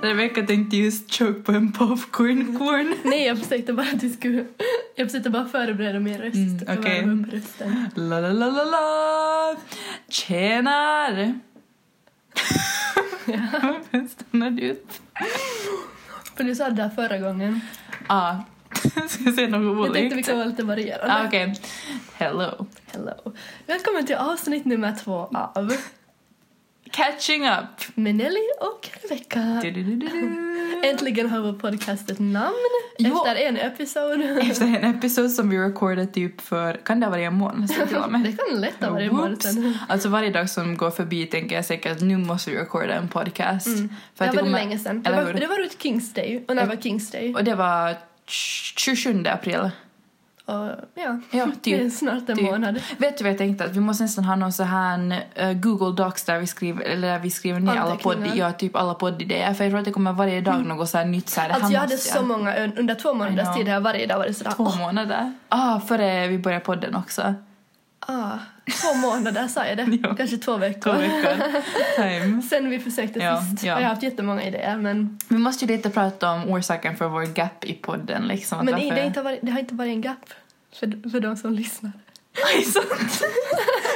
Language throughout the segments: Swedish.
Rebecca tänkte just choke på en popcorn-corn. Nej, jag försökte bara att du skulle... Jag försökte bara förbereda min röst. Mm, och okej. värma upp rösten. La la la la la! Tjenar! Varför stannar du upp? För du sa det där förra gången. Ja, jag Ah. ska säga något Jag tänkte vi olikt. kan vara lite varierande. Ah, Okej. Hello. Hello. Välkommen till avsnitt nummer två av Catching up! med Nelly och Rebecca. Du-du-du-du-du. Äntligen har vår podcast ett namn Ja. efter en episod. Efter en episod som vi recordade typ för, kan det ha varit en månad sedan till och med? Det kan lätt ha varit en månad Whoops. sedan. Alltså varje dag som går förbi tänker jag säkert nu måste vi recorda en podcast. Mm. Det var det kommer- länge sedan. Det Eller var, hur? det var runt Kings Day. Och när var Kings Day? Och det var 27 april. Och, ja, Ja, det är typ. snart en Typ. månad. Vet du vad jag tänkte? Att vi måste nästan ha någon så här eh, Google Docs där vi skriver, eller där vi skriver ner alla podd, Anteckningar. ja, typ alla poddidéer. För jag tror att det kommer varje dag något så här nytt. Så här, det här Mm. Alltså jag hade måste så många, un- under två månaders know. tid har jag varje dag varit sådär Två månader. Ah, före vi började podden också. ah, två månader sa jag det, Ja. kanske två veckor. Två veckor. Time. Sen vi försökte Ja, sist. ja. Och jag har haft jättemånga idéer men, Vi måste ju lite prata om orsaken för vår gap i podden. Liksom, att men det, varför- har inte varit, det har inte varit en gap för, för de som lyssnar. Aj, sant.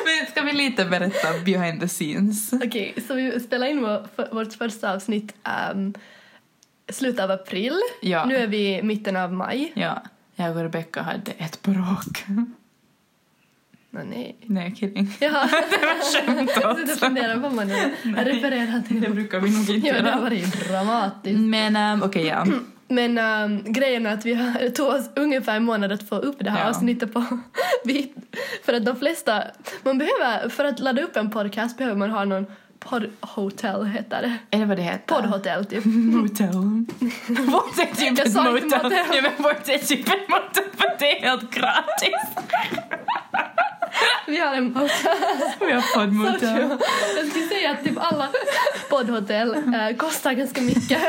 Men ska vi lite berätta behind the scenes? Okej, så vi spelar in vår, för, vårt första avsnitt ehm, slutet av april. Ja. Nu är vi i mitten av maj. Ja, jag och Rebecca hade ett bråk. Nå, nej. Nej, kidding. Jaha. Det var skämt Jag sitter och alltså. funderar på vad man Nej. refererar till. Det brukar vi nog inte Ja, det har göra. varit dramatiskt. Men ehm, okej, ja. Men ehm, grejen är att vi har, det tog oss ungefär en månad att få upp det här Ja. avsnittet på vi, För att de flesta, man behöver, för att ladda upp en podcast behöver man ha någon poddhotell heter det. Är det vad det heter? Poddhotell typ. Motel. Vårt är typ Jag ett sa inte motel. motel. Ja, men vårt är typ ett motel för det är helt gratis. Vi har en podd. Vi har poddmotel. Jag skulle säga att typ alla poddhotell eh, kostar ganska mycket.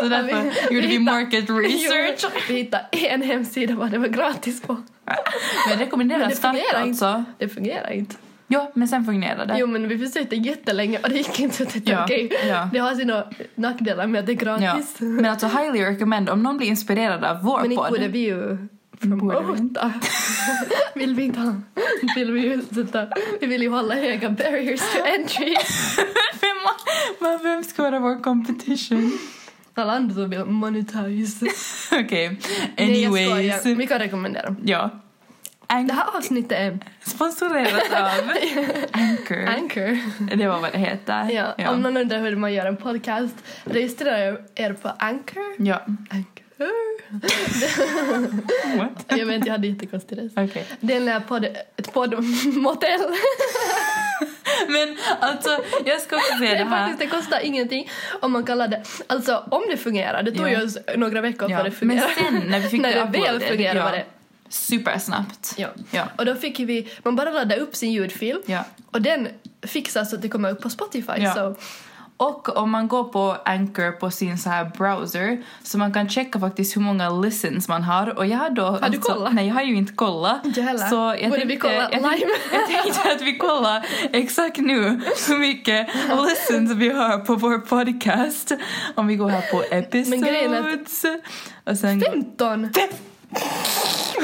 Så därför Vi- gjorde vi vi hittar- market research. Vi hittade en hemsida vad det var gratis på. Men Men rekommenderar det starkt fungerar inte. alltså. Det fungerar inte. Ja, men sen fungerar det. Jo men vi försökte jättelänge och det gick inte att det Ja, är okej. ja. Det har sina nackdelar med att det är Ja. gratis. Men alltså highly recommend om någon blir inspirerad av vår Men inte podd. borde vi ju Borde vi promota. vill vi inte ha. Vill vi ju sätta. Vi vill ju hålla höga barriers to entry. vem, men vem ska vara vår competition? Alla andra som vill monetize. Okej, Nej jag anyways. skojar. Vi kan rekommendera. ja. An- Det här avsnittet är Sponsorerat av Anchor. Anchor. det var vad det heter. Ja, ja. Om någon undrar hur man gör en podcast, registrera er på Anchor. Ja. Anchor. What? Jag vet inte, jag hade jättekonstig röst. Okej. Det är en eh, podd... Ett poddmotell. Men alltså, jag ska också Det, säga det är här. faktiskt, det kostar ingenting om man kallar det... Alltså om det fungerar, det tog Ja. ju oss några veckor för Ja. det Men fungerar. sen när vi fick När det uploadat, väl fungerar ja, var det... Supersnabbt. Ja. Ja. Och då fick vi... Man bara laddade upp sin ljudfil Ja. och den fixas så att det kommer upp på Spotify. Ja. Så Och om man går på Anchor på sin så här browser så man kan checka faktiskt hur många listens man har och jag har då... Har du kollat? Nej, jag har ju inte kollat. Inte heller. Så jag Borde tänkte, vi kolla jag, tänkte- live? jag tänkte att vi kollar exakt nu hur mycket listens vi har på vår podcast. Om vi går här på Men grejen är att- episodes. Och sen... 15! Det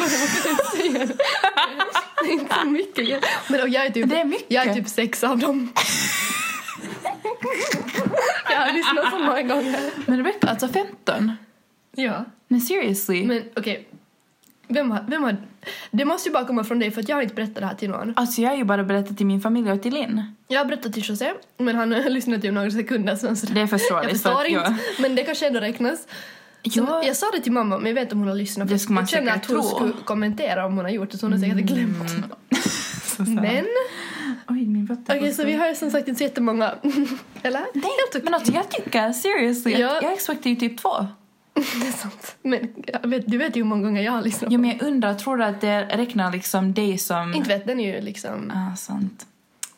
är inte mycket. Men och jag är typ... Det är mycket. Jag är typ sex av dem. jag har lyssnat så många gånger. Men Rebecca, alltså 15? Ja. Men seriously? Men okej. Vem, har, vem har... Det måste ju bara komma från dig för att jag har inte berättat det här till någon. Alltså jag har ju bara berättat till min familj och till Linn. Jag har berättat till José, men han lyssnade till några sekunder sen. Så Det är förståeligt. jag för förstår att inte, jag- men det kanske ändå räknas. Sen, Ja. Jag sa det till mamma, men jag vet inte om hon har lyssnat. för Det ska man jag känner att säkert hon tro. Mm, skulle kommentera om hon har gjort det, så hon har säkert glömt. Så så här. Men, Oj, min vatten. okej, så vi har ju som sagt inte så jättemånga... Eller? Nej, men alltså jag tycker seriously, Ja. jag, jag expectar ju typ två. Det är sant. Men jag vet, du vet ju hur många gånger jag har lyssnat. Ja, men jag undrar, tror du att det räknar liksom dig som... Inte vet den är ju liksom... Ah, sant.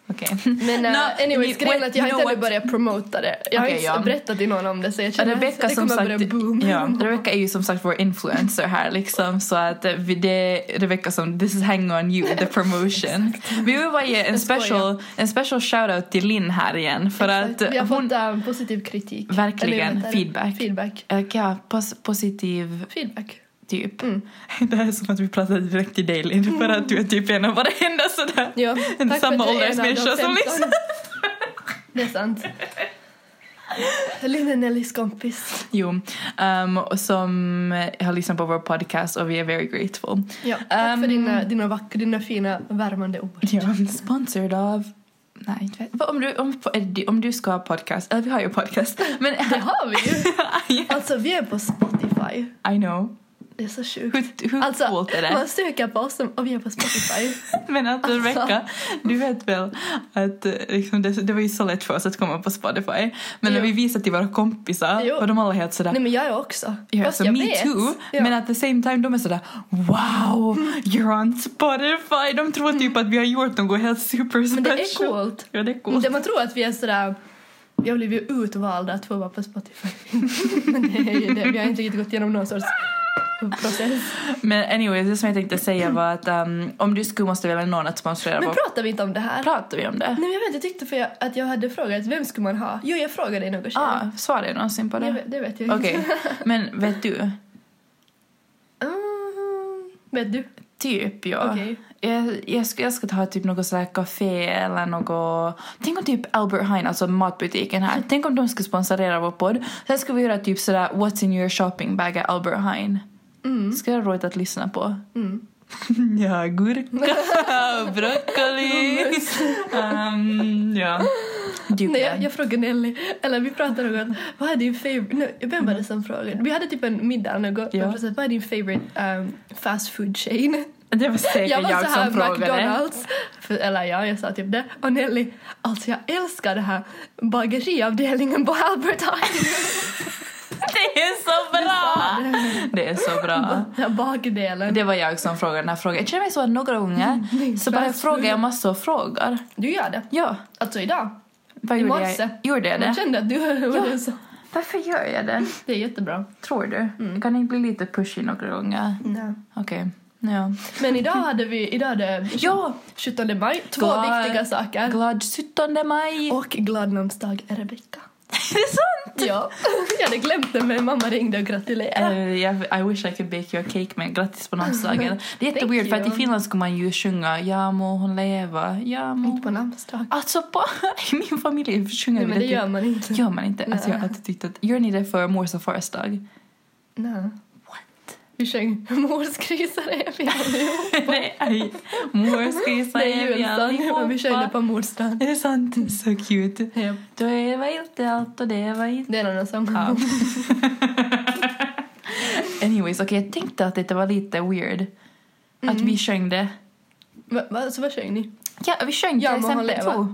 What Okej. Men uh, Nå, anyways, ni- grejen är att jag har you know inte ännu what? börjat promota det. Jag har Okej, inte ja. berättat till någon om det så jag känner att Rebecka det som kommer sagt, börja boom. ja, Rebecca är ju som sagt vår influencer här liksom så att eh, vi- det är Rebecca som this is hang on you, the promotion. vi vill bara ge en Jag skojar. special, en special shoutout till Linn här igen för att Vi har eh, hon fått eh, positiv kritik. Verkligen. vad heter det? Feedback. Feedback. Eh, ja, pos- positiv Feedback. typ. Mm. Det här är som att vi pratar direkt till dig Linn för att du är typ en av varenda sådär Ja, en tack för samma att du är en av de åldersmänniska som 15. lyssnar. Det är sant. Linn är Nellys kompis. Jo, ehm, och som har lyssnat på vår podcast och vi är very grateful. Ja, tack för Ehm. dina, dina, vackra, dina fina värmande ord. Ja. Sponsored av... Nej, inte vet. Vad Om du, om, om du ska ha podcast, eller vi har ju podcast. Men Det har vi ju. Alltså vi är på Spotify. I know. Det är så sjukt. Hur, hur Alltså coolt är det? man söker på oss och vi är på Spotify. Men att Alltså. Rebecca, du vet väl att eh, liksom, det, det var ju så lätt för oss att komma på Spotify. Men när Jo. vi visade till våra kompisar Jo. och de alla helt sådär Nej men jag är också. Ja, Fast så jag Alltså, me vet. too. Ja. Men at the same time, de är sådär wow, you're on Spotify. De tror typ att vi har gjort något helt super Men special. det är alltså, coolt. Ja, det är Men coolt. Det man tror att vi är sådär, vi har blivit utvalda att få vara på Spotify. Men det är ju det. Vi har inte riktigt gått igenom någon sorts process. Men anyway, det som jag tänkte säga var att ehm, om du skulle måste välja någon att sponsra Men vår... pratar vi inte om det här? Pratar vi om det? Nej men jag vet, jag tyckte för jag, att jag hade frågat vem skulle man ha? Jo, jag frågade dig något Ah, svarar jag någonsin på det, det? vet- det vet jag inte. Okej, men vet du? Mm, vet du? Typ ja. Okej. Jag, jag, skulle, jag skulle ta typ något sådär café eller något... Tänk om typ Albert Heijn, alltså matbutiken här. Tänk om de skulle sponsorera vår podd. Sen skulle vi göra typ sådär What's in your shopping bag av Albert Heijn. Mm, Det skulle vara roligt att lyssna på. mm. Ja, gurka, broccoli. um, ja. Typ Nej, det. jag, jag frågade Nelly, eller vi pratade något, vad är din favorite, vem var det som frågade? Vi hade typ en middag något, Mm. Ja. ja. precis, vad är din favorite um, fast food chain? Det var säkert jag, Jag var så här som frågade. McDonalds, för, eller ja, jag sa typ det. Och Nelly, alltså jag älskar det här bageriavdelningen på Albert Heijn. Det är så bra! Det är så bra. Den här bagdelen. Ah. Det var jag som frågade den här frågan. Jag känner mig så att några Mm. gånger så bara fast frågar jag massor av frågor. Du gör det. Ja, Alltså idag. vad I gjorde morse. jag? Gjorde jag Jag det? kände att du var så. Varför gör jag det? Det är jättebra. Tror du? Jag kan inte bli lite pushy några gånger. Nej. Okej. Ja. Men idag hade vi, idag är det ja! 17 maj, två Glad- viktiga saker. Glad 17 maj! Och glad namnsdag Rebecka. det är sant! Ja, jag hade glömt det men mamma ringde och gratulerade. Eh, jag- I wish I could bake you a cake men grattis på namnsdagen. Det är Thank jätteweird för att i you. Finland ska man ju sjunga Ja må hon leva, ja må Inte på namnsdag. Alltså på, i min familj sjunger vi Nej men det typ- gör man inte. Gör man inte? Alltså jag har alltid tyckt att, gör ni det för mors och fars dag? Nej. What? Vi sjöng Mors grisar är vi allihopa. Nej, mors grisar Det är är vi julsång, men vi körde allihopa. på morsdagen. Är det sant? Så cute. Då är det inte allt och det var inte... Det är en annan sång. Ja. Anyways, okej jag tänkte att det var lite weird att vi sjöng det. Mm. Va, va, så vad sjöng ni? Ja, vi sjöng Ja, till må hon exempel leva.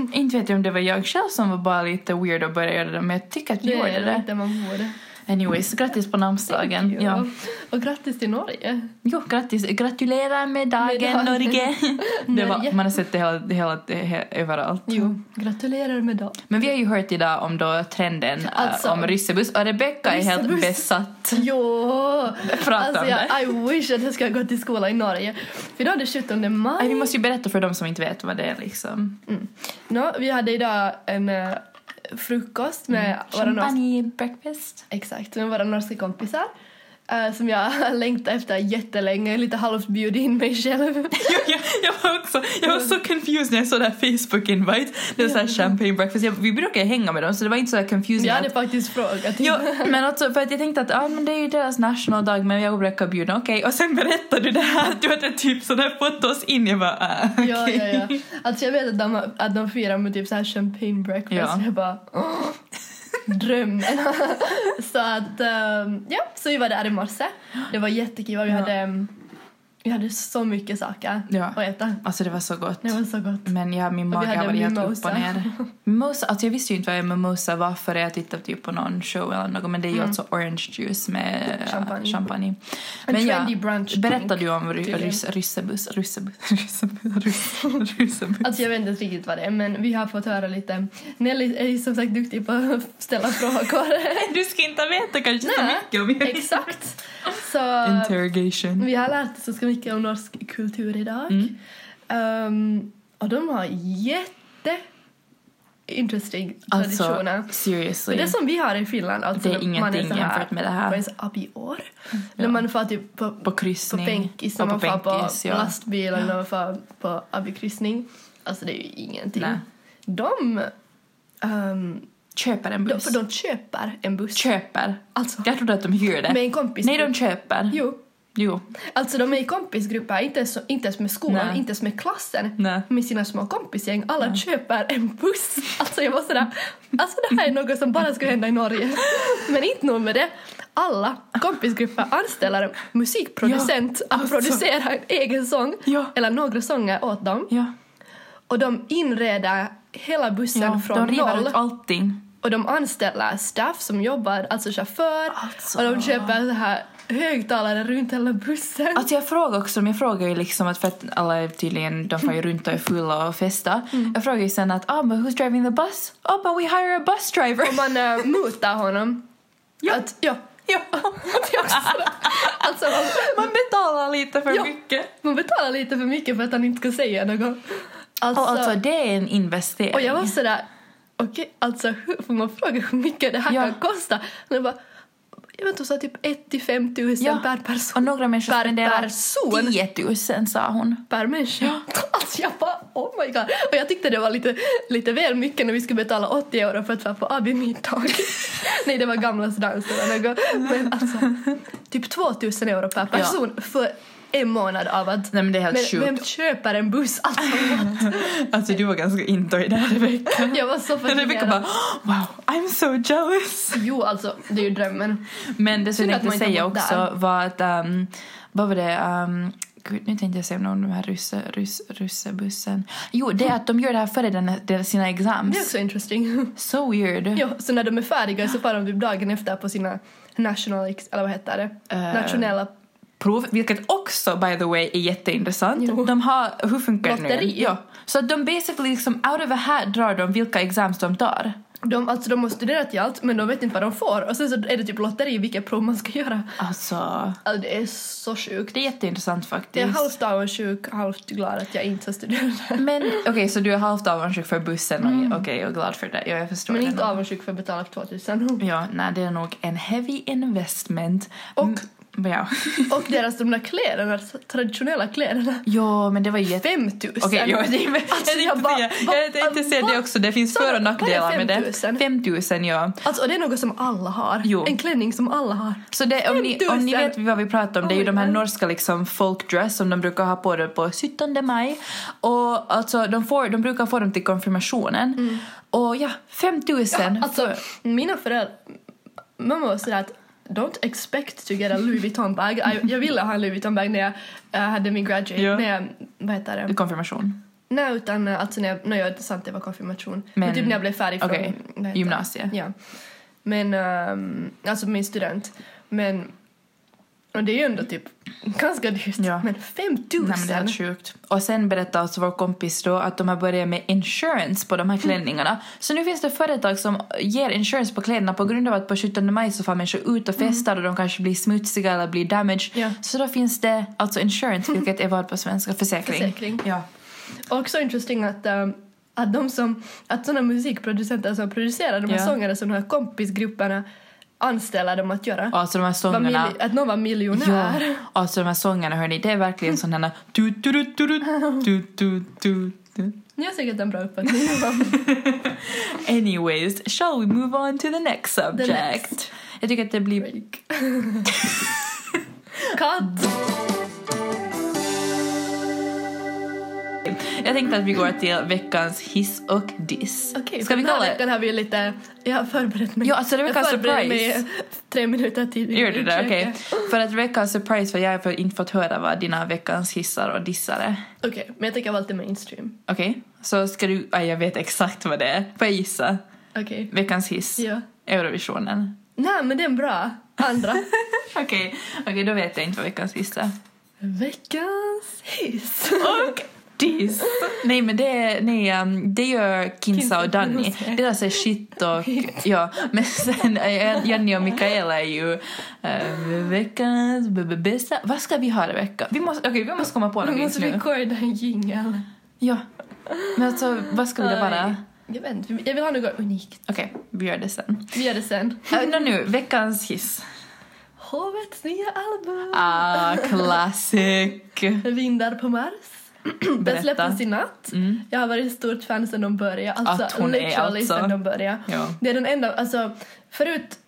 två. Inte vet jag om det var jag själv som var bara lite weird och började göra det, men jag tycker att vi gjorde är det. inte man borde. Anyways, grattis på namnsdagen. Ja. Ja. Och grattis till Norge. Jo, grattis. Gratulerar med dagen, Med dagen. Norge. Det var, Norge. man har sett det hela, det hela det, he, överallt. Jo, gratulerar med dag. Men vi har ju hört idag om då trenden äh, Alltså- om Ryssebuss och Rebecca är helt Ryssebuss. besatt. Jo! Prata Alltså om det. jag, I wish att jag ska gå till skolan i Norge. För idag är det 17 maj. Nej, vi måste ju berätta för dem som inte vet vad det är liksom. Nå, vi hade idag en eh, frukost med våra norska, Mm. Champagne breakfast. exakt, med våra norska kompisar. eh, som jag längtar efter jättelänge, lite halvt bjöd in mig själv. jag, jag, jag var också jag var så confused när jag såg det här Facebook-invite. Det var så här champagne breakfast. Jag, vi brukar hänga med dem så det var inte så här confusing. Jag att- hade faktiskt frågat. Ja, men alltså för att jag tänkte att ah, men det är ju deras nationaldag men jag brukar bjuda, okej. Och sen berättar du det här att du hade typ sådär fått oss in. Jag bara, ah, okej. Ja, ja, ja. Alltså jag vet att de, att de firar med typ så här champagne breakfast. Ja. Jag bara... åh, drömmen. så att, ehm, ja, så vi var där i morse. Det var jättekul. Vi Ja. hade ehm, Vi hade så mycket saker Ja. att äta. Alltså det var så gott. Det var så gott. Men ja, min Och mage vi har hade varit helt upp mimosa. och ner. Mimosa, alltså jag visste ju inte vad en mimosa var förrän jag tittade typ på någon show eller något men det är ju Mm. Typ alltså orange juice med eh, Champagne. champagne. En Men ja, trendy brunch Berättade drink. du om ry- tydligen. rys- ryssebus? Ryssebus? Ryssebus? ryss- Ryssebus? Alltså jag vet inte ens riktigt vad det är men vi har fått höra lite. Nelly är ju som sagt duktig på att ställa frågor. Du ska inte veta kanske så Nej, mycket om jag Exakt. Så Interrogation. vi har lärt oss så mycket om norsk kultur idag. Mm. Ehm, och de har jätte interesting Alltså, traditioner. seriously. Det som vi har i Finland, alltså Det är när man är ingenting så här, jämfört med det på här. Mm. ens abbiår. Ja. När man får typ på, På på kryssning. bänkis, när och man får på bänkis, ja. lastbil och när man får på abbykryssning. Alltså det är ju ingenting. Nej. De, ehm, Köper en de, buss. för de köper en buss. Köper. Alltså, Jag trodde att de hyrde. med en kompis. Nej, de köper. Jo, Jo. alltså de är i kompisgrupper, inte ens, inte ens med skolan, Nej. inte ens med klassen. Nej. med sina små kompisgäng. Alla köper en buss. Alltså jag var sådär, alltså det här är något som bara skulle hända i Norge. Men inte nog med det. Alla kompisgrupper anställer en musikproducent Ja, att alltså. producera en egen sång Ja. eller några sånger åt dem. Ja. och Och de inreder hela bussen från de river noll Mm. ut allting. och de anställer staff som jobbar, alltså chaufför Alltså. och de köper så här högtalare runt hela bussen. Alltså jag frågar också dem, jag frågar ju liksom att för att alla är tydligen, de Mm. får ju runt och är fulla och festar. Jag frågar ju sen att ah men who's driving the bus? Oh but we hire a bus driver. Och man äh, mutar honom. Ja. Att, ja. ja. Alltså man, Man betalar lite för Ja. mycket. Man betalar lite för mycket för att han inte ska säga något. Alltså, Och alltså det är en investering. och jag var sådär, okej, alltså hur, får man fråga hur mycket det här Ja. kan kosta? Och jag bara, jag vet inte, hon sa typ 1 till 5 tusen Ja. per och person. några människor Per spenderar person. 10 000 sa hon. Per människa. Alltså jag bara, oh my god. Och jag tyckte det var lite, lite väl mycket när vi skulle betala 80 euro för att vara på AB-middag. Nej, det var gamlas dans eller något. Men alltså, typ 2000 euro per person för en månad av att... Nej men det är helt Men sjukt. vem köper en buss? Alltså, Alltså du var ganska into i det här Rebecca. jag var så Rebecca fascinerad. bara wow, I'm so jealous. Jo, alltså, det är ju drömmen. Men det som Synd jag att man tänkte inte säga har bott också där. var att... ehm, vad var det? ehm, gud, nu tänkte jag säga något om de här rysse, ryss, russebussen. Jo, det är att de gör det här före den, den, sina Det är exams. också interesting. So weird. Ja, så när de är färdiga så far de typ dagen efter på sina national, ex- eller vad heter det? Eh, Nationella Prov, vilket också by the way är jätteintressant. Jo. De har... Hur funkar det nu? Lotteri. Ja. Så att de basically liksom out of a hat drar de vilka exams de tar. de, alltså de har studerat till allt men de vet inte vad de får och sen så är det typ lotteri vilket prov man ska göra. Alltså, Alltså det är så sjukt. det är jätteintressant faktiskt. Jag är halvt avundsjuk, halvt glad att jag inte studerade. Men okej, så du är halvt avundsjuk för bussen och okej, och glad för det. Ja, jag förstår Mm. Men det inte nog. avundsjuk för att betala 2000. Ja, nej, det är nog en heavy investment. Och- Mm, ja. Och deras de där kläderna, traditionella kläderna. ja, men det var ju jätte... 5000! Okej, jo, det, jag tänkte Alltså, jag bara, säga, va- jag tänkte säga det va- också. Det finns sa du- för och vad är nackdelar med det. 5000? 5000, ja. Alltså och det är något som alla har. Jo. En klänning som alla har. Så det, om, ni, om ni 5000? vet vad vi pratar om, det är ju Oh my de här God. norska liksom folkdress som de brukar ha på det på 17 maj. Och alltså, de, får, de brukar få dem till konfirmationen. Mm. Och ja, 5000. Alltså, mina föräldrar... Mamma var sådär att Don't expect to get a Louis Vuitton-bag. Jag, jag ville ha en Louis Vuitton-bag när jag eh, hade min graduate. Ja. När jag, vad heter det? Konfirmation. Nej, utan eh, alltså när jag, nej, det är sant, det var konfirmation. Men, Men- typ när jag blev färdig från okej, vad heter gymnasiet. det? Ja. Men, ehm, alltså min student. Men, och det är ju ändå typ ganska dyrt. Ja. Men 5 000! Nej, men det är helt sjukt. Och sen berättade alltså vår kompis då att de har börjat med insurance på de Mm. här klänningarna. Så nu finns det företag som ger insurance på kläderna på grund av att på 17 maj så får människor ut och festar och de kanske blir smutsiga eller blir damaged. Mm. Ja. Så då finns det alltså insurance, vilket är vad på svenska? Försäkring. Försäkring. Ja. Också intressant att, ehm, att de som, att sådana musikproducenter som producerar de här Ja. sångerna som de här kompisgrupperna anställer dem att göra. Och alltså de här Var sångerna. mil- att någon var Ja, miljonär. alltså de här sångerna hörni, det är verkligen sån här du du du du du du du du du Ni har säkert en bra uppfattning. Anyways, shall we move on to the next subject? next. Jag tycker att det blir Katt! Jag tänkte att vi går till veckans hiss och diss. Okej, Ska för vi den här kalla det? veckan har vi lite... Jag har förberett mig. Ja, alltså det var jag kanske förberedde surprise. mig tre minuter tidigare. Gör du det? Ursäkta. Okej. För att veckans surprise för jag har inte fått höra vad dina veckans hissar och dissar är. Okej, men jag tänker vara lite mainstream. Okej? Så ska du... Ah, jag vet exakt vad det är. Får jag gissa? Okej. Veckans hiss. Ja. Eurovisionen. Nej, men det är en bra. Andra. Okej, Okej, då vet jag inte vad veckans hiss är. Veckans hiss. Och diss. Nej men det, nej, um, det gör Kinsa och Danny. Kinsa. Deras är alltså shit och ja. Men sen eh, Jenny och Mikaela är ju eh, veckans b- b- bästa. Vad ska vi ha i veckan? Vi måste, okej, vi måste komma på Nu något just måste vi nu. recorda en jingel. Ja. Men alltså vad skulle det vara? Jag vet inte, jag vill ha något unikt. Okej, vi gör det sen. Vi gör det sen. Uh, nu, veckans hiss. Hovets nya album. Ah, classic. Vindar på Mars. Den släpptes i natt. Mm. Jag har varit ett stort fan sedan de började. Alltså, Att hon är literally alltså. sedan de började. Ja. Det är den enda, alltså förut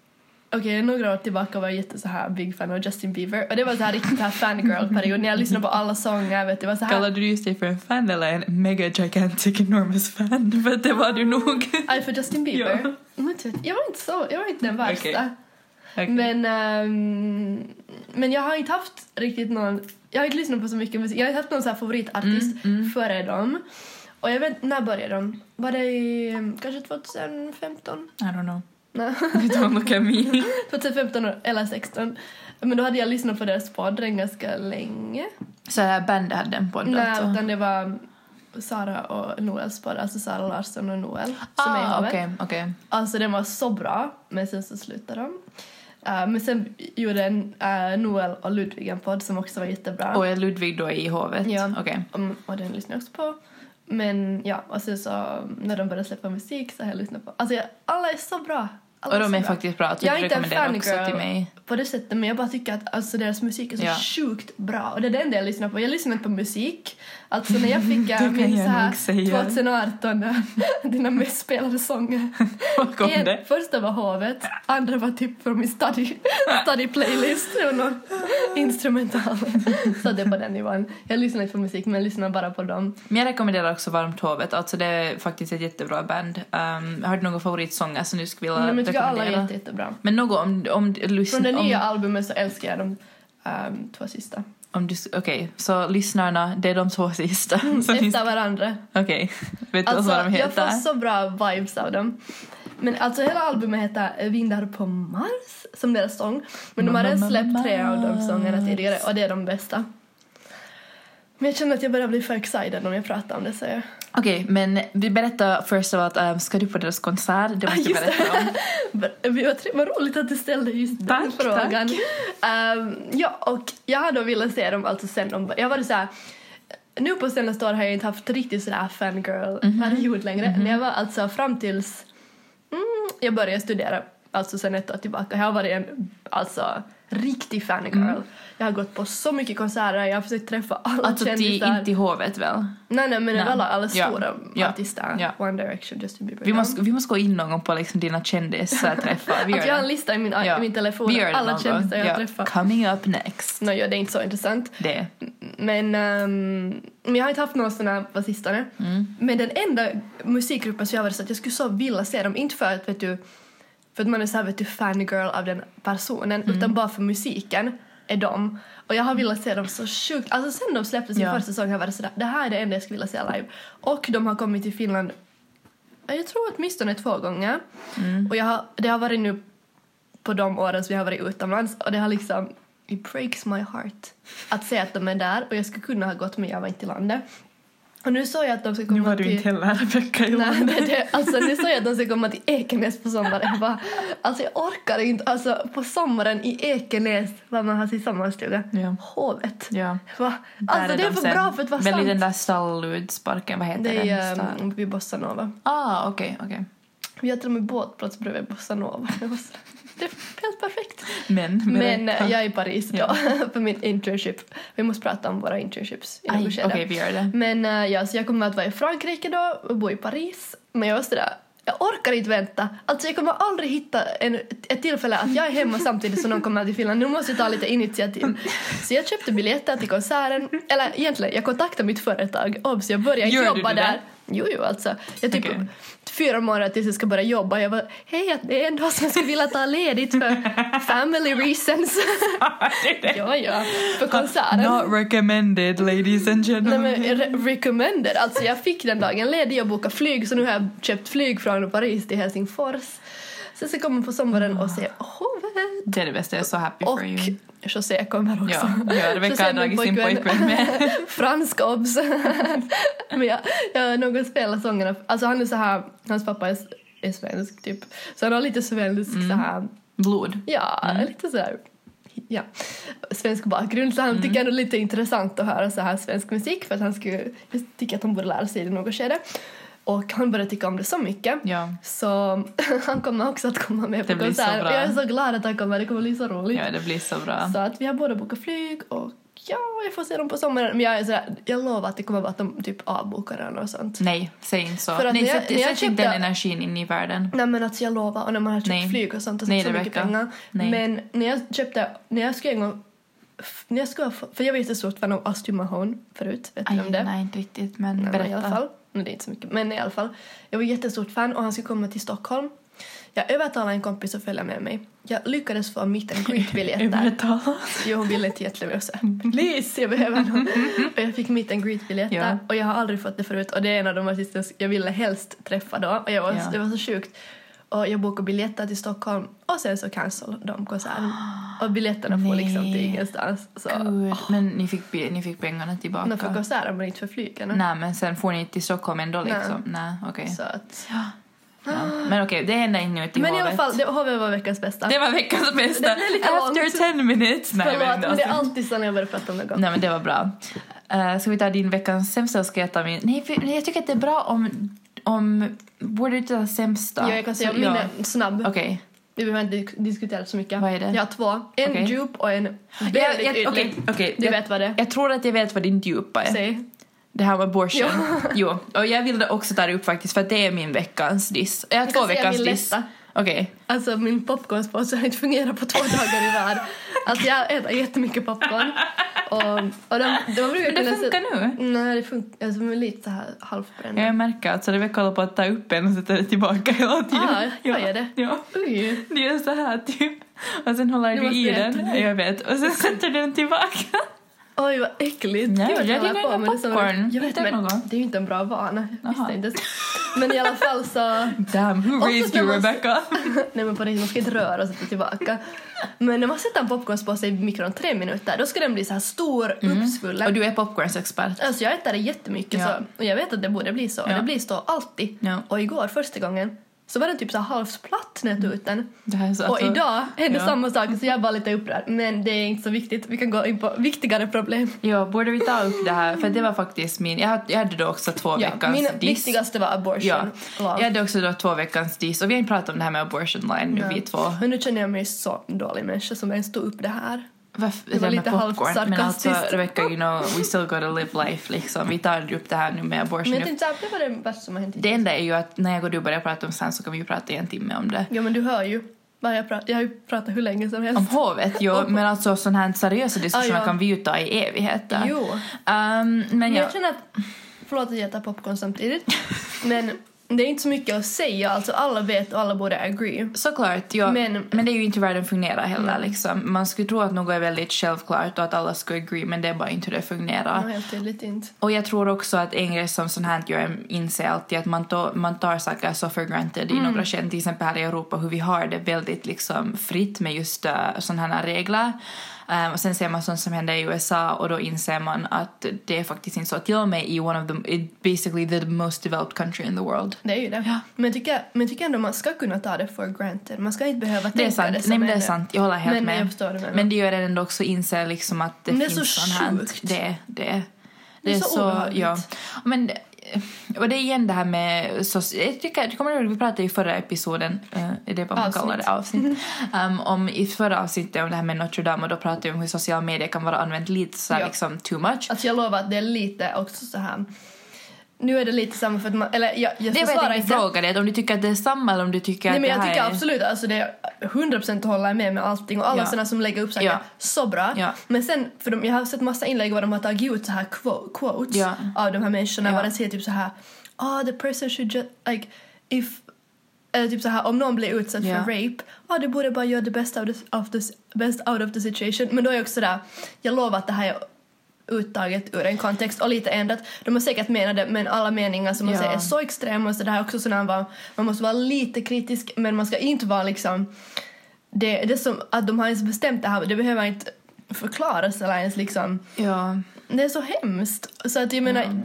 Okej, några år tillbaka var jag jätte så här big fan av Justin Bieber och det var så här riktigt här fangirl-period när jag lyssnade på alla sånger, vet du, det var så här Kallade du just dig för en fan eller en mega gigantic enormous fan? För det var du nog. Aj, för Justin Bieber? Ja. Men typ, jag var inte så, jag var inte den värsta. Okej. Okej. Men, ehm, men jag har inte haft riktigt någon, jag har inte lyssnat på så mycket musik, jag har inte haft någon så här favoritartist Mm. före dem. Och jag vet när började de? Var det i, ehm, kanske 2015? I don't know. Nej, Don't look at me. 2015 eller 16. Men då hade jag lyssnat på deras podd redan ganska länge. Så det här bandet hade en podd Nej, alltså? utan det var Sara och Noels podd, alltså Sara Larsson och Noel. Som är Ah, ihop. okej, okej. Alltså den var så bra, men sen så slutade de. Eh, men sen gjorde en, eh, Noel och Ludvig en podd som också var jättebra. Och är Ludvig då i hovet? Ja. Okej. Mm, och den lyssnade jag också på. Men ja, och sen så mm, när de började släppa musik så har jag lyssnat på. Alltså jag, alla är så bra. Alla Och de så är bra. faktiskt bra. Jag är du inte en rekommenderar också fangirl. till mig. På det sättet, men jag bara tycker att alltså, deras musik är så Ja. sjukt bra. Och det är det enda jag lyssnar på. Jag lyssnar inte på musik. Alltså när jag fick eh, Det kan min jag så här, nog säga. 2018, eh, dina mest spelade sånger. Vad kom En- det? Första var havet, andra var typ från min study, study playlist. Det var någon instrumental. Så det är på den nivån. Jag lyssnar inte på musik men jag lyssnar bara på dem. Men jag rekommenderar också Varmt hovet. Alltså det är faktiskt ett jättebra band. Um, har du några favoritsånger som du Alltså skulle vilja Men jag tycker alla är rekommendera? jätte, jättebra. Men något om, om, Från det lyssn- om, nya albumet så älskar jag de ehm, två sista. om du... Okej, så lyssnarna, det är de två sista. som ni- Efter varandra. Okej, vet du Mm, Alltså vad de jag heter? får så bra vibes av dem. Men alltså hela albumet heter eh, Vindar på Mars som deras sång. Men de har redan släppt tre av de sångerna tidigare och det är de bästa. Men jag känner att jag börjar bli för excited om jag pratar om det så jag... Okej, men vi berättar först av allt, um, ska du på deras konsert? Det måste du Ah, just det. berätta om. Vi var tre- Vad roligt att du ställde just den Tack, frågan. Ehm, ja, och jag har då velat se dem alltså sen de... Jag var så här, nu på senaste år har jag inte haft riktigt sådär Mhm. fangirl-period längre. Men jag var alltså fram tills mm, jag började studera, alltså sen ett år tillbaka. Jag har varit en alltså, riktig fangirl. Mm. Jag har gått på så mycket konserter, jag har försökt träffa alla Alltså till, kändisar. inte till hovet väl? Nej, nej, men Nej. alla, alla Ja, stora ja, artister. ja. One Direction, Justin Bieber. Vi dem. måste, vi måste gå in någon gång på liksom dina kändisarträffar. Vi gör Att jag har en det. lista i min, i min telefon Vi gör det alla någon gång. kändisar jag Ja. träffar. Coming up next. Nå, ja, det är inte så intressant. Det. Men, ehm, men jag har inte haft några såna på sistone. Mm. Men den enda musikgruppen som jag var så att jag skulle så vilja se dem, inte för att, vet du, för att man är så här, vet du, fangirl av den personen, Mm. utan bara för musiken är de. Och jag har velat se dem så sjukt. Alltså sen de släppte sin Ja. första sång har jag varit sådär, det här är det enda jag skulle vilja se live. Och de har kommit till Finland, jag tror åtminstone två gånger. Och jag har, det har varit nu på de åren som jag har varit utomlands och det har liksom It breaks my heart att se att de är där och jag skulle kunna ha gått men jag var inte i landet. Och nu såg jag att de ska komma Nu var du till... inte heller Rebecka Nej, Johan. det, det, alltså nu såg jag att de ska komma till Ekenäs på sommaren. Jag bara, alltså jag orkar inte. Alltså på sommaren i Ekenäs, var man har sin sommarstuga, Ja. hovet. Ja. Jag bara, Där Alltså det är de för sen. bra för att vara Väl i den sant. där stalludsparken, vad heter Det den? är Stall- um, vid Bossa Nova. Ah, okej, okej. Vi har till och med båtplats bredvid Bossa Nova. Det var så- det är helt perfekt. Men, Men berätta. eh, jag är i Paris då, Ja. för min internship. Vi måste prata om våra internships i Aj, något Okej, skede. vi gör det. Men eh, ja, så jag kommer att vara i Frankrike då och bo i Paris. Men jag var sådär, Jag orkar inte vänta. Alltså jag kommer aldrig hitta en, ett tillfälle att jag är hemma samtidigt som någon kommer till Finland. Nu måste jag ta lite initiativ. Så jag köpte biljetter till konserten. Eller egentligen, jag kontaktade mitt företag. Obs, jag började inte Gör du jobba det? där. Jo, jo, alltså. Jag typ Okej. fyra månader tills jag ska börja jobba. Jag bara, hej, det är en dag som jag skulle vilja ta ledigt för family reasons. ja, ja, för konserten. Not recommended ladies and Nej gentlemen. men re- recommended, alltså jag fick den dagen ledig och bokade flyg så nu har jag köpt flyg från Paris till Helsingfors. Sen så kommer på sommaren och säger hovet Det är det bästa, jag är så happy och Ah. for you. José kommer också. Ja, ja, Rebecca José är har min dragit sin pojkvän med. Fransk obs. men jag, jag någon spelar sångerna, alltså han är så här, hans pappa är, är svensk typ. Så han har lite svensk Mm. så här Blod. Ja, Mm. lite sådär. Ja, svensk bakgrund. Så han Mm. tycker ändå lite intressant att höra så här svensk musik för att han skulle, jag tycker att han borde lära sig det i något skede. Och han började tycka om det så mycket. Ja. Så han kommer också att komma med på Det blir så konsert. bra. Och jag är så glad att han kommer, det kommer bli så roligt. Ja, det blir så bra. Så att vi har båda bokat flyg och ja, jag får se dem på sommaren. Men jag är sådär, jag lovar att det kommer vara att de typ avbokar den och sånt. Nej, säg inte så. För att Nej, när jag- sätt, när jag sätt inte den köpte- energin in i världen. Nej men alltså jag lovar, och när man har köpt Nej. flyg och sånt och Nej, så mycket Rebecca. pengar. Nej. Men när jag köpte, när jag skulle en gång, f- när jag skulle, ha- för jag var jättestort fan av Astrid Mahon förut, vet ni Aj, om det? nej, inte riktigt, men Nej, men berätta. I alla fall, men det är inte så mycket, men i alla fall. Jag var jättestort fan och han skulle komma till Stockholm. Jag övertalade en kompis att följa med mig. Jag lyckades få meet and greet-biljett där. Övertala. Jo, hon ville inte jättelösa. Please, jag behöver någon. Och jag fick meet and greet-biljetter Ja. och jag har aldrig fått det förut. Och det är en av de artister jag ville helst träffa då. Och jag var, Ja. det var så sjukt. Och jag bokade biljetter till Stockholm och sen så cancel de konserten. Och biljetterna får liksom till Nej. ingenstans. Så, Gud, Men ni fick, bi- ni fick pengarna tillbaka? men för konserten men inte för flygen. Nej, men sen får ni inte till Stockholm ändå Nej. liksom? Nej, okej. Så att, Ja. Men okej, det händer inte nu till men i alla hovet. fall, det, HV var veckans bästa. Det var veckans bästa. blev lite långt. After 10 minutes. Nej, Förlåt, men det är alltså. alltid så när jag börjar prata om något. Nej men det var bra. Uh, ska vi ta din veckans sämsta och ska jag ta min? Nej, för, nej jag tycker att det är bra om... om borde du ta sämsta? Ja, jag kan säga Så- min ja. är snabb. Okej. Vi behöver inte diskutera så mycket. Vad är det? Jag har två. En Okej. djup och en Ja, väldigt jag- ytlig. Okej, okej. Du Jag- vet vad det är. Jag tror att jag vet vad din djupa är. Säg. Det här med abortion. Jo, och jag ville också ta det upp faktiskt för att det är min veckans diss. Jag har Jag två kan säga veckans min diss. lätta. Okej. Alltså min popcornsponsor har inte fungerat på två dagar i rad. Alltså jag äter jättemycket popcorn. Och, och de, de brukar Men det kunna se- funkar nu. Nej, det funkar. Alltså de är lite så här halvbrända. Jag märker att så det kollar på att ta upp en och sätta det tillbaka hela tiden. Ah, jag gör det. Ja. Oj. Du gör så här typ. Och sen håller Du du måste i äta den. den. Jag vet. Och sen sätter du den tillbaka. Oj, vad äckligt. Nej, Gud, jag håller gillar inte men det är så- popcorn. Jag vet, Hitta men något. det är ju inte en bra vana. Jaha. Jag visste inte ens. Men i alla fall så... Damn, who Också raised när you man- Rebecca? Nej men på riktigt, man ska inte röra och sätta tillbaka. Men när man sätter en popcornspåse i mikron tre minuter, då ska den bli så här stor, Mm. uppsvullen. Och du är popcornsexpert. Alltså jag äter det jättemycket Ja. så, och jag vet att det borde bli så. och Ja. Det blir så alltid. Ja. Och igår första gången så var den typ så här halvplatt när jag tog ut den. Det här är så, och alltså- idag hände ja. samma sak så jag var lite upprörd. Men det är inte så viktigt, vi kan gå in på viktigare problem. Ja, borde vi ta upp det här? För det var faktiskt min... Jag hade, jag hade då också två Ja, veckans min diss. viktigaste var abortion. Ja. Wow. Jag hade också då två veckans diss. Och vi har inte pratat om det här med abortion line nu, Ja. vi två. Men nu känner jag mig så dålig människa som ens tog upp det här. Varför, Det var där med lite popcorn. Men alltså halvsarkastiskt. Rebecca, you know, we still gotta live life liksom. Vi tar upp det här nu med abortion. Men jag tänkte såhär, det var det värsta som har hänt. Det enda är ju att när jag och du börjar prata om sen så kan vi ju prata i en timme om det. Ja men du hör ju. Vad jag, pratar, jag har ju pratat hur länge som helst. Om hovet, jo, men alltså sådana här seriösa diskussioner Ah, ja. kan vi ju ta i evigheter. Jo. Ehm, men Men ja. jag känner att, förlåt att jag äter popcorn samtidigt, men det är inte så mycket att säga. Alltså alla vet och alla borde agree. Såklart, ja. Men, Men- Mm. men det är ju inte hur världen fungerar heller. Liksom. Man skulle tro att något är väldigt självklart och att alla skulle agree men det är bara inte hur det fungerar. Ja, helt tydligt inte. Och jag tror också att en grej som sånt här gör inser alltid att man, to, man tar saker så för granted Mm. i några skeden. Till exempel här i Europa hur vi har det väldigt liksom fritt med just uh, sådana här regler. Ehm, och sen ser man sånt som händer i USA och då inser man att det är faktiskt inte så. Till och med i one of the, it- basically the most developed country in the world. Det är ju det. Men jag tycker, men jag tycker ändå man ska kunna ta det for granted. Man ska inte behöva Det tänka är sant. det som Nej, men det är en- sant. Jag håller helt Men med. jag förstår det, men- men det gör det ändå också inse liksom att det, Men det är finns så sånt här. sjukt. Det, är- det, är- Det är så obehagligt. ja. Men, och det är igen det här med... Så, jag tycker, kommer du ihåg, vi pratade i förra episoden, eh, är det vad man Avsnitt. kallar det, avsnitt. um, om, I förra avsnittet om det här med Notre Dame och då pratade vi om hur sociala medier kan vara använt lite så här, Ja. liksom too much. Alltså jag lovar att det är lite också så här Nu är det lite samma för att man, eller jag, jag Det var jag försvarar tänkte inte. fråga dig, om du tycker att det är samma eller om du tycker Nej att men det jag här tycker är... absolut, alltså det är 100% håller jag med med allting och alla Ja. såna som lägger upp saker, Ja. så bra. Ja. Men sen, för de, jag har sett massa inlägg var de har tagit ut så här quo- quotes Ja. av de här människorna, Ja. var det säger typ så här, ah the person should just, like, if eller typ så här, om någon blir utsatt Ja. för rape, ah, du borde bara göra det bästa av the, of the, best out of the situation. Men då är jag också där, jag lovar att det här är uttaget ur en kontext och lite ändrat. De har säkert menat det, men alla meningar som man Ja. säger är så extrema. Så det här är också sådana man, man måste vara lite kritisk, men man ska inte vara liksom... Det, det är som att de har ens bestämt det här, det behöver inte förklaras eller ens liksom... Ja. Det är så hemskt. Så att jag menar, Mm.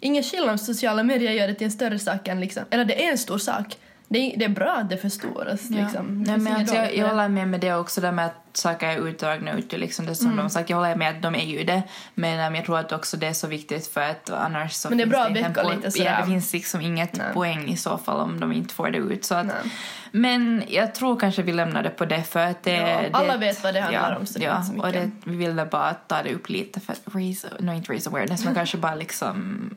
ingen skillnad om sociala medier gör det till en större sak än liksom, eller det är en stor sak. Det är, det är bra att det förstoras Ja. liksom. Det Nej, finns men inget alltså, dåligt jag, med jag det. håller med med det också, där med att saker är utdragna ut. och Liksom det som Mm. de har sagt. Jag håller med att de är ju det. Men äm, jag tror att också det är så viktigt för att annars så Men det är finns bra inte att en väcka po- lite sådär. Ja, det finns liksom inget Nej. poäng i så fall om de inte får det ut. Så att, Nej. men jag tror kanske vi lämnar det på det för att det, Ja, det alla vet vad det handlar ja, om, så det är ja, inte så mycket. och det, vi ville bara ta det upp lite för att raise, no, inte raise awareness men kanske bara liksom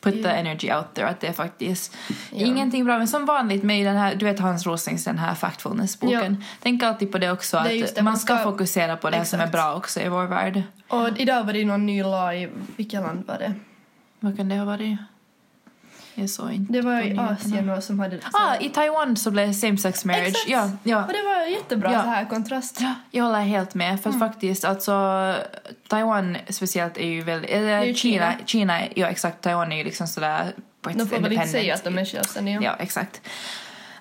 put the Ja. energy out there att det är faktiskt Ja. ingenting bra men som vanligt med i den här, du vet Hans Roslings den här factfulness-boken tänk alltid på det också Det är just att det, man man ska, ska- fokusera på det som är Exakt. bra också i vår värld Och idag var det ju någon ny lag i, vilket land var det? vad kan det ha varit? Jag såg inte Det var på i nyheterna. Asien och som hade... Ah, i Taiwan så blev det same sex marriage Exakt. ja, ja. Och det var jättebra Ja. så här kontrast. Ja, jag håller helt med. Mm. För att faktiskt, alltså Taiwan speciellt är ju väldigt... Eller, ju Kina. Kina. Kina. ja exakt. Taiwan är ju liksom sådär... på ett De får väl inte independent- säga att de är självständiga. Ja, exakt.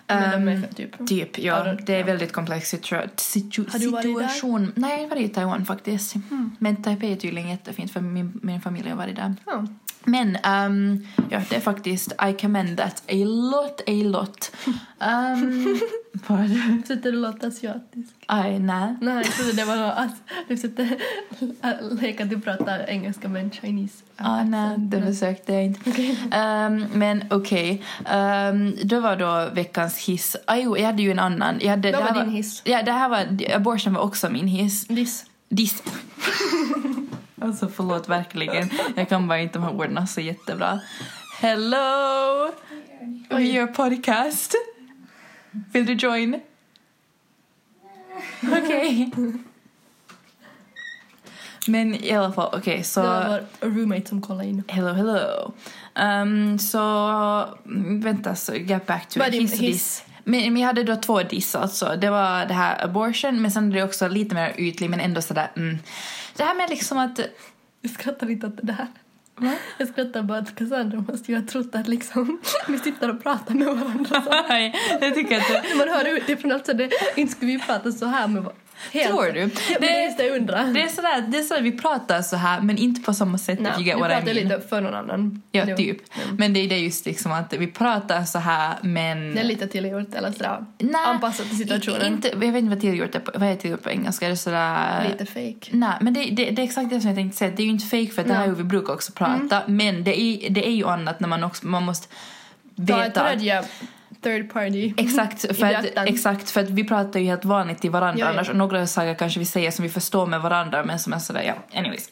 Men de Ehm, är typ... typ, Ja, ja. det- Det är ja. väldigt komplex situa- situ- Har du varit Mm. där? situation. Nej, jag har varit i Taiwan faktiskt. Men Taipei är tydligen jättefint för min, min familj har varit där. Ja. Men ehm, ja, det är faktiskt I commend that a lot, a lot. Um, vad? Sitter du och låter asiatisk? Aj, nej. Nej, jag trodde det var något att du sitter leka att du pratar engelska med en chinese. Ah, nej, det försökte jag inte. Ehm, men okej, Ehm, det var då veckans hiss. Ah, jo, jag hade ju en annan. Jag hade, Vad det här var din hiss? Ja, det här var, abortion var också min hiss. Diss. Diss. alltså förlåt, verkligen. Jag kan bara inte de här orden så jättebra. Hello! We Oj. gör podcast. Vill du join? Okej. Men i alla fall, okej så... Det var vår roommate som kollade in. Hello, hello. Um, så mm, vänta, så get back to Vad it. är din Typ Hiss och hiss? diss. Men, men jag hade då två diss alltså. Det var det här abortion, men sen är det också lite mer ytlig men ändå sådär mm. Det här med liksom att... Jag skrattar inte åt det här. Va? Jag skrattar bara att Cassandra måste ju ha trott att liksom, vi sitter och pratar med varandra. jag tycker att... Man hör utifrån alltså det, inte skulle vi prata så här med var- helt. Tror du? Ja, men det är just det jag undrar. Det är sådär, det är så att vi pratar så här men inte på samma sätt. Nej, if you vi get what I pratar mean. lite för någon annan. Mm. Ja, Jo. typ. Men det är det just liksom att vi pratar så här men... Det är lite tillgjort eller sådär. Nej, Anpassat till situationen. Inte, jag vet inte vad tillgjort är på, vad är tillgjort på engelska. Är det sådär... Lite fake. Nej, men det, det, det är exakt det som jag tänkte säga. Det är ju inte fake för att det här är ju vi brukar också prata. Mm. Men det är, det är ju annat när man också man måste Ta ett veta. att- tredje third party. Exakt för, I att, beaktan. exakt, för att vi pratar ju helt vanligt till varandra Ja, ja. annars. Och några saker kanske vi säger som vi förstår med varandra men som är sådär, ja, anyways.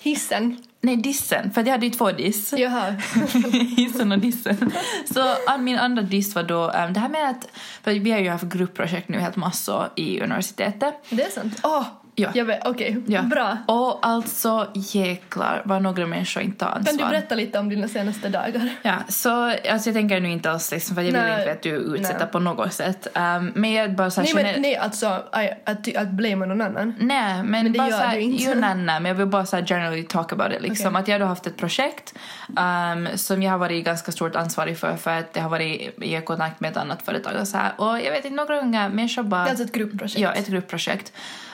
Hissen. Nej, dissen. För att jag hade ju två diss. Jaha. hissen och dissen. Så an- min andra diss var då ehm, det här med att, för vi har ju haft gruppprojekt nu helt massor i universitetet. Det är sant. Åh! Ja. Jag vet, okej. Ja. Bra. Och alltså jäklar vad några människor inte har ansvar. Kan du berätta lite om dina senaste dagar? Ja, så alltså jag tänker nu inte alls liksom, för jag vill Nej. inte att du utsätter Nej. på något sätt. Ehm, men jag bara såhär Nej men nej alltså, aj, att, att blamea någon annan. Nej, men, det bara gör såhär, du inte. Jo, nej, nej, men jag vill bara såhär generally talk about it. Liksom. Okej. Att jag har då haft ett projekt ehm, som jag har varit ganska stort ansvarig för för att jag har varit i kontakt med ett annat företag och så här. Och jag vet inte, några unga människor bara... Det är alltså ett gruppprojekt. Ja, ett gruppprojekt.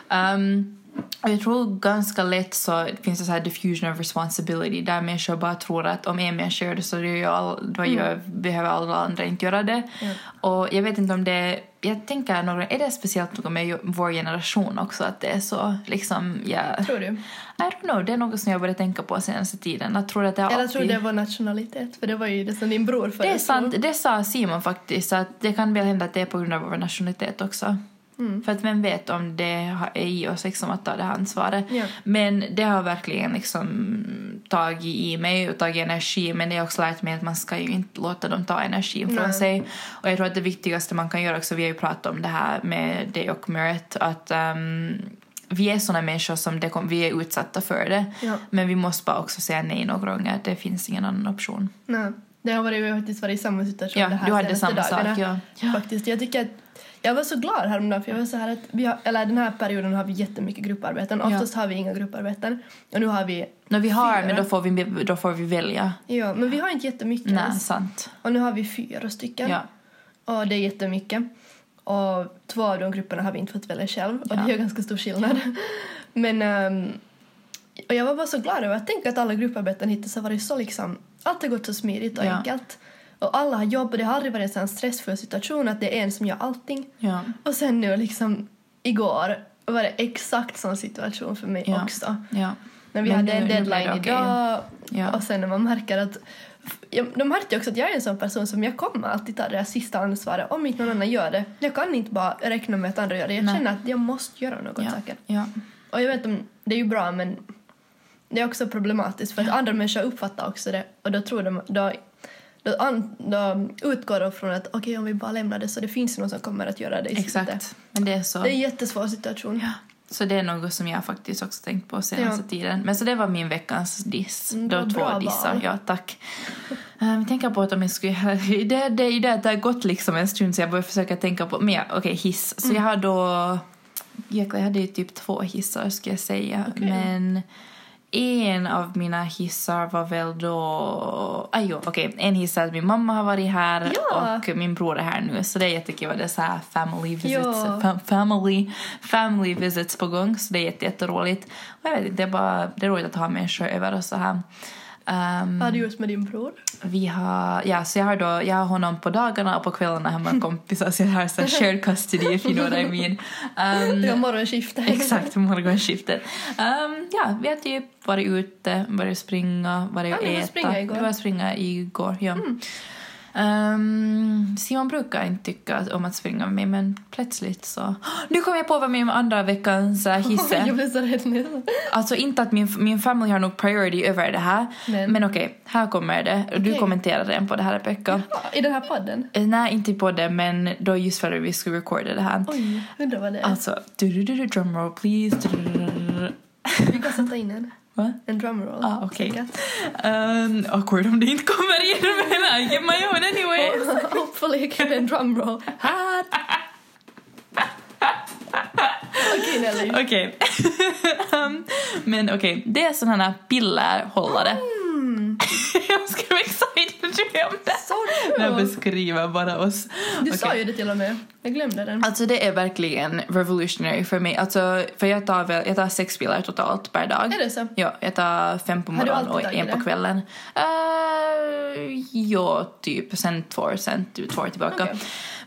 Ehm, och jag tror ganska lätt så finns det så här diffusion of responsibility där människor bara tror att om en människa gör det så det gör jag all, Mm. då gör, behöver alla andra inte göra det. Och jag vet inte om det jag tänker några, är det speciellt något med ju- vår generation också att det är så liksom, ja. Tror du? I don't know, det är något som jag började tänka på senaste tiden. Jag tror att det har Eller alltid- tror du det var nationalitet? För det var ju det som din bror typ. det är föreslog. sant, det sa Simon faktiskt att det kan väl hända att det är på grund av vår nationalitet också. Mm. För att vem vet om det har- är i oss liksom att ta det här ansvaret. Ja. Men det har verkligen liksom tagit i mig och tagit energi men det har också lärt mig att man ska ju inte låta dem ta energin från Nej. sig. Och jag tror att det viktigaste man kan göra också, vi har ju pratat om det här med dig och Merit, att ehm, vi är såna människor som det kom, vi är utsatta för det. Ja. Men vi måste bara också säga nej några gånger, det finns ingen annan option. Nej, det har varit, jag har faktiskt varit i samma situation Ja, det här du hade samma senaste sak. dagarna. Ja. Faktiskt, jag tycker att jag var så glad häromdagen för jag var så här att vi har, eller den här perioden har vi jättemycket grupparbeten. Oftast har vi inga grupparbeten och nu har vi, Nå, vi har, Fyra. men då får vi, då får vi välja. ja men vi har inte jättemycket Nej, alls. sant. Och nu har vi fyra stycken Ja. och det är jättemycket. Och två av de grupperna har vi inte fått välja själv och Ja. det är ganska stor skillnad. Men ehm, och jag var bara så glad över att tänka att alla grupparbeten hittills har varit så liksom, allt har gått så smidigt och Ja. enkelt. Och alla har jobb och det har aldrig varit en sån här stressfull situation att det är en som gör allting. Ja. Och sen nu liksom igår var det exakt sån situation för mig Ja. också. Ja. När vi Men hade nu- en nu blir deadline det okej. idag Ja. och sen när man märker att jag- de märkte ju också att jag är en sån person som jag kommer alltid ta det här sista ansvaret om inte någon annan gör det. Jag kan inte bara räkna med att andra gör det. Jag Nej. känner att jag måste göra något Ja. säkert. Ja. Och jag vet om det är ju bra men det är också problematiskt för att andra människor uppfattar också det och då tror de då, då, an, då utgår de från att okej om vi bara lämnar det så det finns någon som kommer att göra det i slutet. Exakt. Men det är så. Det är en jättesvår situation. Ja. Så det är något som jag faktiskt också tänkt på senaste Ja. tiden. Men så det var min veckans diss. Mm, Det var vad bra två dissar. val. Ja, tack. Um, tänka på att om jag skulle... Det, det, det, det har gått liksom en stund så jag börjar försöka tänka på... Men ja, okej, hiss. Mm. Så jag har då... Jäklar, jag hade ju typ två hissar ska jag säga. Okej. Men en av mina hissar var väl då... Ah, jo, okej. En hiss är att min mamma har varit här Ja. och min bror är här nu. Så det är jättekul. Det är så här family visits, Ja. fam- family, family visits på gång. Så det är jätte- jätteroligt. Och jag vet inte, det är, bara, det är roligt att ha människor över och så här. Ehm, Vad har du gjort med din bror? vi har, ja, så jag har, då, jag har honom på dagarna och på kvällarna hemma med kompisar. Så jag har så här shared custody if you know what I mean. Ehm, Du har morgonskifte. Exakt, morgonskiftet. Um, ja, vi har typ varit ute, börjat springa, börjat Ja, ni var äta. springa igår. Mm. Vi var springa igår, ja. Ehm, Simon brukar inte tycka om att springa med mig men plötsligt så... Nu kom jag på vad min andra veckans eh, hiss är. jag blev så rädd nu. Alltså inte att min, min familj har nog priority över det här. Men- Men okej, här kommer det. Du Okej. kommenterade den på det här Rebecka. Ja, I den här podden? Eh, Nej, inte på det men då just för att vi skulle recorda det här. Oj, undrar vad det är. Alltså, du-du-du-du, drumroll please. Du-du-du-du-du. Vi kan sätta in en, Va? en drumroll. Ah, okej. säkert. Um, awkward om det inte kommer in, men I get my own anyway. Hopefully jag kan en drumroll. Okej Nelly. Okej. Ehm, men okej, det är sådana här pillerhållare. jag skrev excited för det om det. Mm. Så Den kul! beskriver bara oss. Du sa Okej. ju det till och med. Jag glömde den. Alltså det är verkligen revolutionary för mig. Alltså, för jag tar, väl, jag tar sex piller totalt per dag. Är det så? Ja, jag tar fem på Har du morgonen och alltid tagit en på det? kvällen. Uh, ja, typ. Sen två, sen typ två år tillbaka. Okej.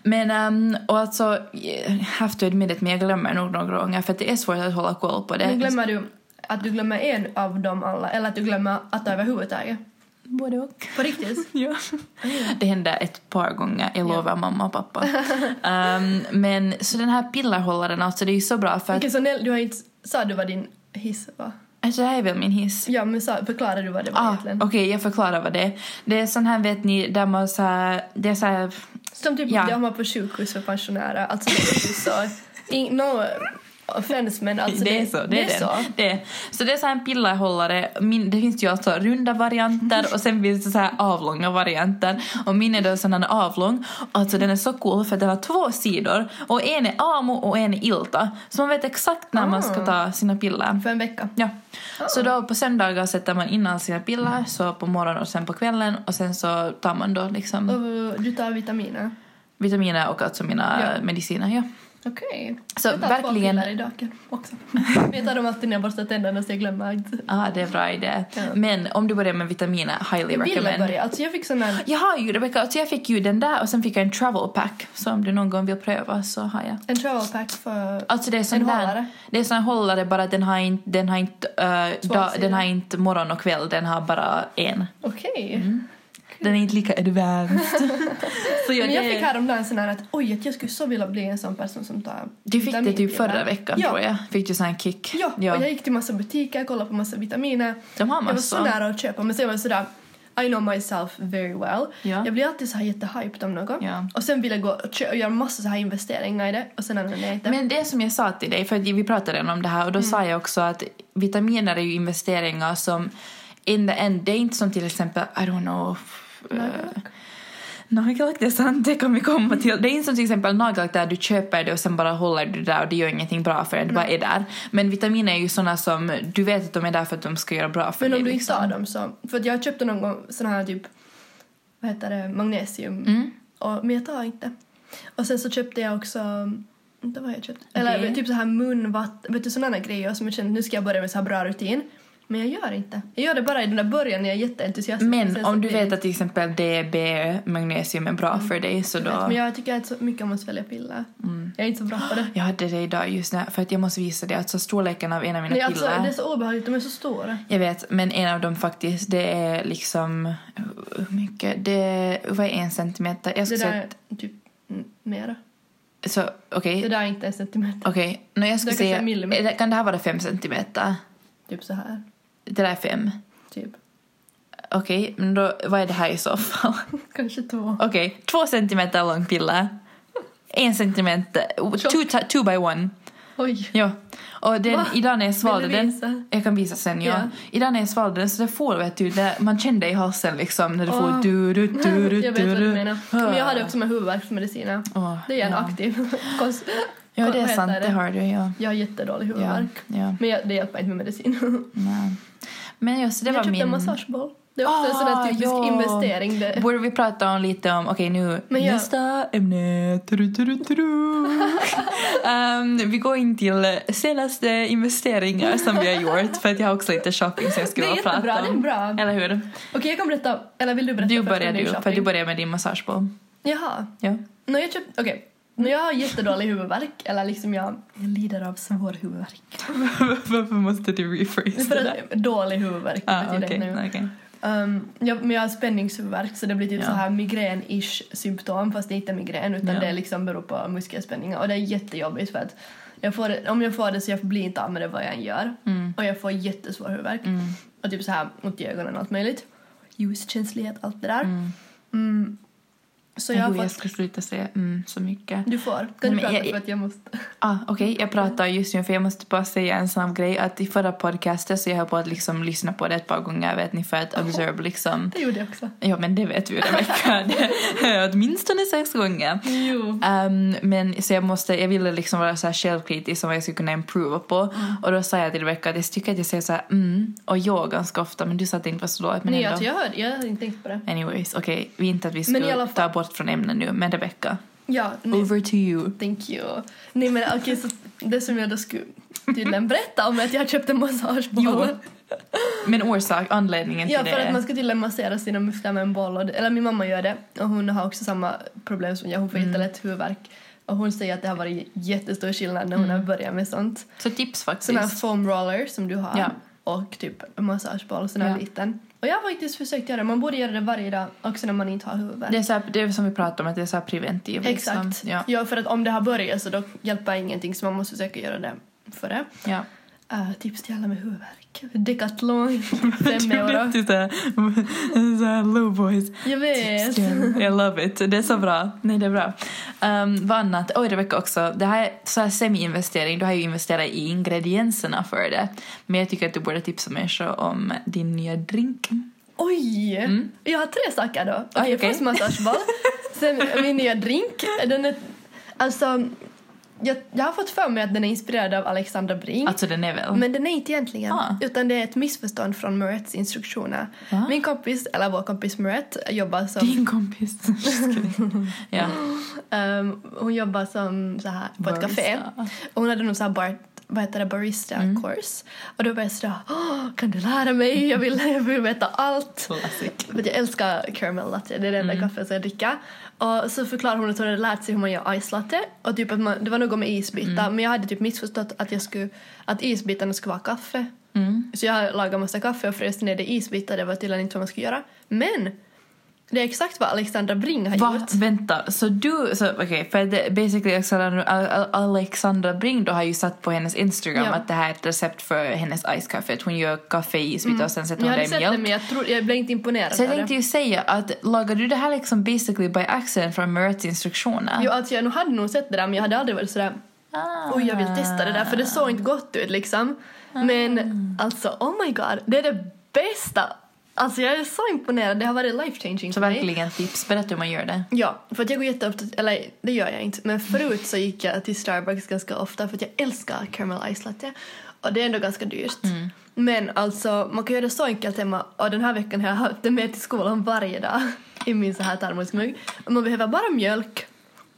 Men, ehm, och alltså, jag have to admit it, men jag glömmer nog några gånger för att det är svårt att hålla koll på det. Men glömmer du att du glömmer en av dem alla eller att du glömmer att ta överhuvudtaget? Både och. På riktigt? Ja. Mm. Det hände ett par gånger, jag lovar mamma och pappa. Ehm, men så den här pillerhållaren, alltså det är ju så bra för att... Okej så Nell, du har inte... Sa du vad din hiss var? Alltså det här är väl min hiss? Ja men sa, förklarade du vad det var Ah, Okej, egentligen? jag förklarar vad det är. Det är sån här, vet ni, där man så här, det är så här, Som typ Ja. de har på sjukhus för pensionärer. Alltså det är ju så... In, no offense men alltså det är så, det, är, den. så. Det är. Så det är så här en pillerhållare, min, det finns ju alltså runda varianter och sen finns det så här avlånga varianter och min är då sån här avlång, alltså den är så cool för den har två sidor och en är Amo och en är Ilta så man vet exakt när man Ah. ska ta sina piller. För en vecka. Ja. Ah. Så då på söndagar sätter man in alla sina Mm. piller, så på morgonen och sen på kvällen och sen så tar man då liksom Och du tar vitaminer? vitaminer och alltså mina Ja. mediciner. Ja. Okej. Så jag tar verkligen- två piller i dagen också. jag tar dem alltid när jag borstar tänderna så jag glömmer inte. Ah, det är bra idé. Ja. Men om du börjar med vitaminer, highly Jag ville recommend. börja. Alltså jag fick sån här... Jag har ju Rebecca, alltså jag fick ju den där och sen fick jag en travel pack. Så om du någon gång vill pröva så har jag. En travel pack för... Alltså det är sån En där, hållare? Det är sån här hållare bara att den har inte, den har inte, eh, Två dag- sidor. den har inte morgon och kväll, den har bara en. Okej. Den är inte lika advanced. så Men jag det- fick häromdagen sån här att oj, att jag skulle så vilja bli en sån person som tar du fick det typ vitaminpiller. förra veckan ja. tror jag. Fick du sån här kick? Ja, och jag gick till massa butiker, kollade på massa vitaminer. De har Jag var så massor. nära att köpa men sen var jag sådär I know myself very well. Ja. Jag blir alltid så här jättehyped om något. Ja. Och sen vill jag gå och, kö- och göra massa så här investeringar i det och sen använder jag inte. Men det som jag sa till dig, för att vi pratade om det här och då Mm. sa jag också att vitaminer är ju investeringar som in the end, det är inte som till exempel, I don't know, eh, Nagellack, det är sant, det kan vi komma till. Det är inte som till exempel nagellack där du köper det och sen bara håller du det där och det gör ingenting bra för det, det bara är där. Men vitaminer är ju såna som du vet att de är där för att de ska göra bra för Men dig. om du inte liksom. tar dem så... För att jag köpte någon gång sån här typ... Vad heter det? Magnesium. Mm. Och, men jag tar inte. Och sen så köpte jag också... Inte vad jag köpte. Eller Det. typ så här munvatten. Vet du sådana grejer som jag kände nu ska jag börja med så här bra rutin. Men jag gör inte. Jag gör det bara i den där början när jag är jätteentusiastisk. Men Sen så om du blir det- vet att till exempel DBE, magnesium är bra för dig så då... Mm. Mm. Ah, Men jag tycker inte så mycket om att svälja piller. Jag är inte så bra på det. Jag hade det idag just när, för att jag måste visa dig, alltså storleken av en av mina Nej, piller. alltså, det är så obehagligt, de är så stora. Jag vet, men en av dem faktiskt, det är liksom... Hur mycket? Det, vad är en centimeter? Jag Det skulle där säga... Eh. är typ mm, mera. Så, okej. Det där är inte en centimeter. Okej, okay. jag skulle Det kanske säga... är millimeter. är det- Kan det här vara fem centimeter? Typ så här. Det där är fem. Typ. Okej, men då, vad är det här i så fall? Kanske två. Okej, två centimeter lång pille. En centimeter. Two, ta- two by one. Oj. Ja. Och den, Va? idag när jag svalde Vill du den... visa? Jag kan visa sen, ja. Ja. Idag när jag svalde den så det får vet du, det, man kände i halsen liksom när det får Åh. du du du du Jag vet vad du menar. Men jag hade Ah. också med huvudvärksmediciner. Åh, Det är en ja. aktiv konst. Ja, vad det är heter sant. Det har du, ja. Jag har jättedålig Ja, huvudvärk. ja. Men jag, det hjälper inte med medicin. Nej. Men just det jag var köpte min... typ en massageboll. Det är också en sån Ah, där typisk ja. investering. Det. Borde vi prata om lite om... Okej, nu Men jag- nästa ämne. Tru, tru, tru. Ehm, vi går in till senaste investeringar som vi har gjort. För att jag har också lite shopping som jag Det skulle är vilja prata om. jättebra, det är bra. Eller hur? Okej, jag kan berätta. Eller vill du berätta? Du först om börjar din du, för shopping? du börjar med din massageball. Jaha. Ja. När jag köpte... Okej. När jag har jättedålig huvudvärk, eller liksom jag, jag lider av svår huvudvärk. Varför måste du rephrase För det där? att, dålig huvudvärk Ah, betyder okej, det nu. okej. Um, jag, men jag har spänningshuvudvärk så det blir typ Ja. så här migrän-ish symptom fast det är inte migrän utan Ja. det liksom beror på muskelspänningar och det är jättejobbigt för att jag får det, om jag får det så jag blir inte av med det vad jag än gör Mm. och jag får jättesvår huvudvärk och typ så här ont i ögonen och allt möjligt. Ljuskänslighet, allt det där. Mm. Så jag Jo, har jag fått... ska sluta säga mm så mycket. Du får. Kan du men prata jag- för att jag måste... Ah, Okej, jag pratar just nu för jag måste bara säga en snabb grej att i förra podcasten så jag höll på att liksom lyssna på det ett par gånger vet ni för att observe liksom Det gjorde jag också. Ja men det vet vi Rebecka, Det- åtminstone sex gånger. Jo. Ehm, men så jag, måste, jag ville liksom vara så här självkritisk om vad jag skulle kunna improva på. Mm. Och då sa jag till Rebecca att jag tycker att jag säger så här mm och jag ganska ofta men du sa att det inte var så dåligt. Men Nej, ändå. alltså jag, hörde, jag hade inte tänkt på det. Anyways, okej, vi inte att vi i skulle alla ta bort från ämnet nu men Rebecca, Ja, nej. over to you. Oh. Thank you. Nej men okej, så det som jag då skulle tydligen berätta om är att jag köpte en Jo, massageboll. Men orsak, anledningen till Ja, för det. att man ska tydligen massera sina muskler med en boll. Och det, eller min mamma gör det och hon har också samma problem som jag. Hon får jättelätt huvudvärk. Och hon säger att det har varit jättestor skillnad när hon har börjat med sånt. Så tips Sån här faktiskt. foam roller som du har. Ja. Och typ en massageboll, sån här Ja. liten. Och jag har faktiskt försökt göra det. Man borde göra det varje dag också när man inte har huvudvärk. Det är, så här, det är som vi pratade om, att det är så här preventiv. Exakt. Liksom. Ja. ja, för att om det har börjat så då hjälper ingenting så man måste försöka göra det för det. Ja. Uh, tips till alla med huvudvärk. Decathlon. Fem euro. ju såhär så här low voice. Jag vet. I love it. Det är så bra. Nej, det är bra. Um, vad annat? Oj, Rebecca också. Det här är så här semi-investering. Du har ju investerat i ingredienserna för det. Men jag tycker att du borde tipsa människor om din nya drink. Mm. Oj! Jag har tre saker då. Okej, okej. först massageboll. sen min nya drink. Den är... Alltså... Jag, jag har fått för mig att den är inspirerad av Alexandra Brink. Alltså den är väl? Men den är inte egentligen. Ah. Utan det är ett missförstånd från Murettes instruktioner. Va? Min kompis, eller vår kompis Murette, jobbar som... Din kompis. ja. Ehm, hon jobbar som så här, på ett Barista. café. Och hon hade någon så här bar, vad heter det, barista course. Och då var jag sådär, "Åh, kan du lära mig? Jag vill, jag vill veta allt. Classic. För att jag älskar caramel latte, det är det enda kaffet som jag dricker. Och så förklarade hon att hon hade lärt sig hur man gör ice latte. Och typ att man, det var något med isbitar, men jag hade typ missförstått att, jag skulle, att isbitarna skulle vara kaffe. Mm. Så jag lagade massa kaffe och frös ner det i isbitar, det var tydligen inte vad man skulle göra. Men Det är exakt vad Alexandra Bring har Va? gjort. Vänta, så du... Så, Okej, för det, basically Alexandra, Al- Alexandra Bring då har ju satt på hennes Instagram Ja. att det här är ett recept för hennes icekaffe. Att hon gör kaffe i isbit och sen sätter Mm. Jag hon det hade i sett mjölk. det men jag, tror, jag blev inte imponerad Så jag av det. tänkte ju säga att lagar du det här liksom basically by accident från Merits instruktioner? Ah, Jo, alltså jag nog hade nog sett det där men jag hade aldrig varit sådär oj jag vill testa det där för det såg inte gott ut liksom. Men alltså oh my god, det är det bästa! Alltså jag är så imponerad, det har varit life changing Så för mig. verkligen tips, berätta hur man gör det. Ja, för att jag går jätteofta, eller det gör jag inte, men förut så gick jag till Starbucks ganska ofta för att jag älskar caramel ice latte och det är ändå ganska dyrt. Men alltså man kan göra det så enkelt hemma och den här veckan har jag haft det med till skolan varje dag i min så här termosmugg. Och Man behöver bara mjölk,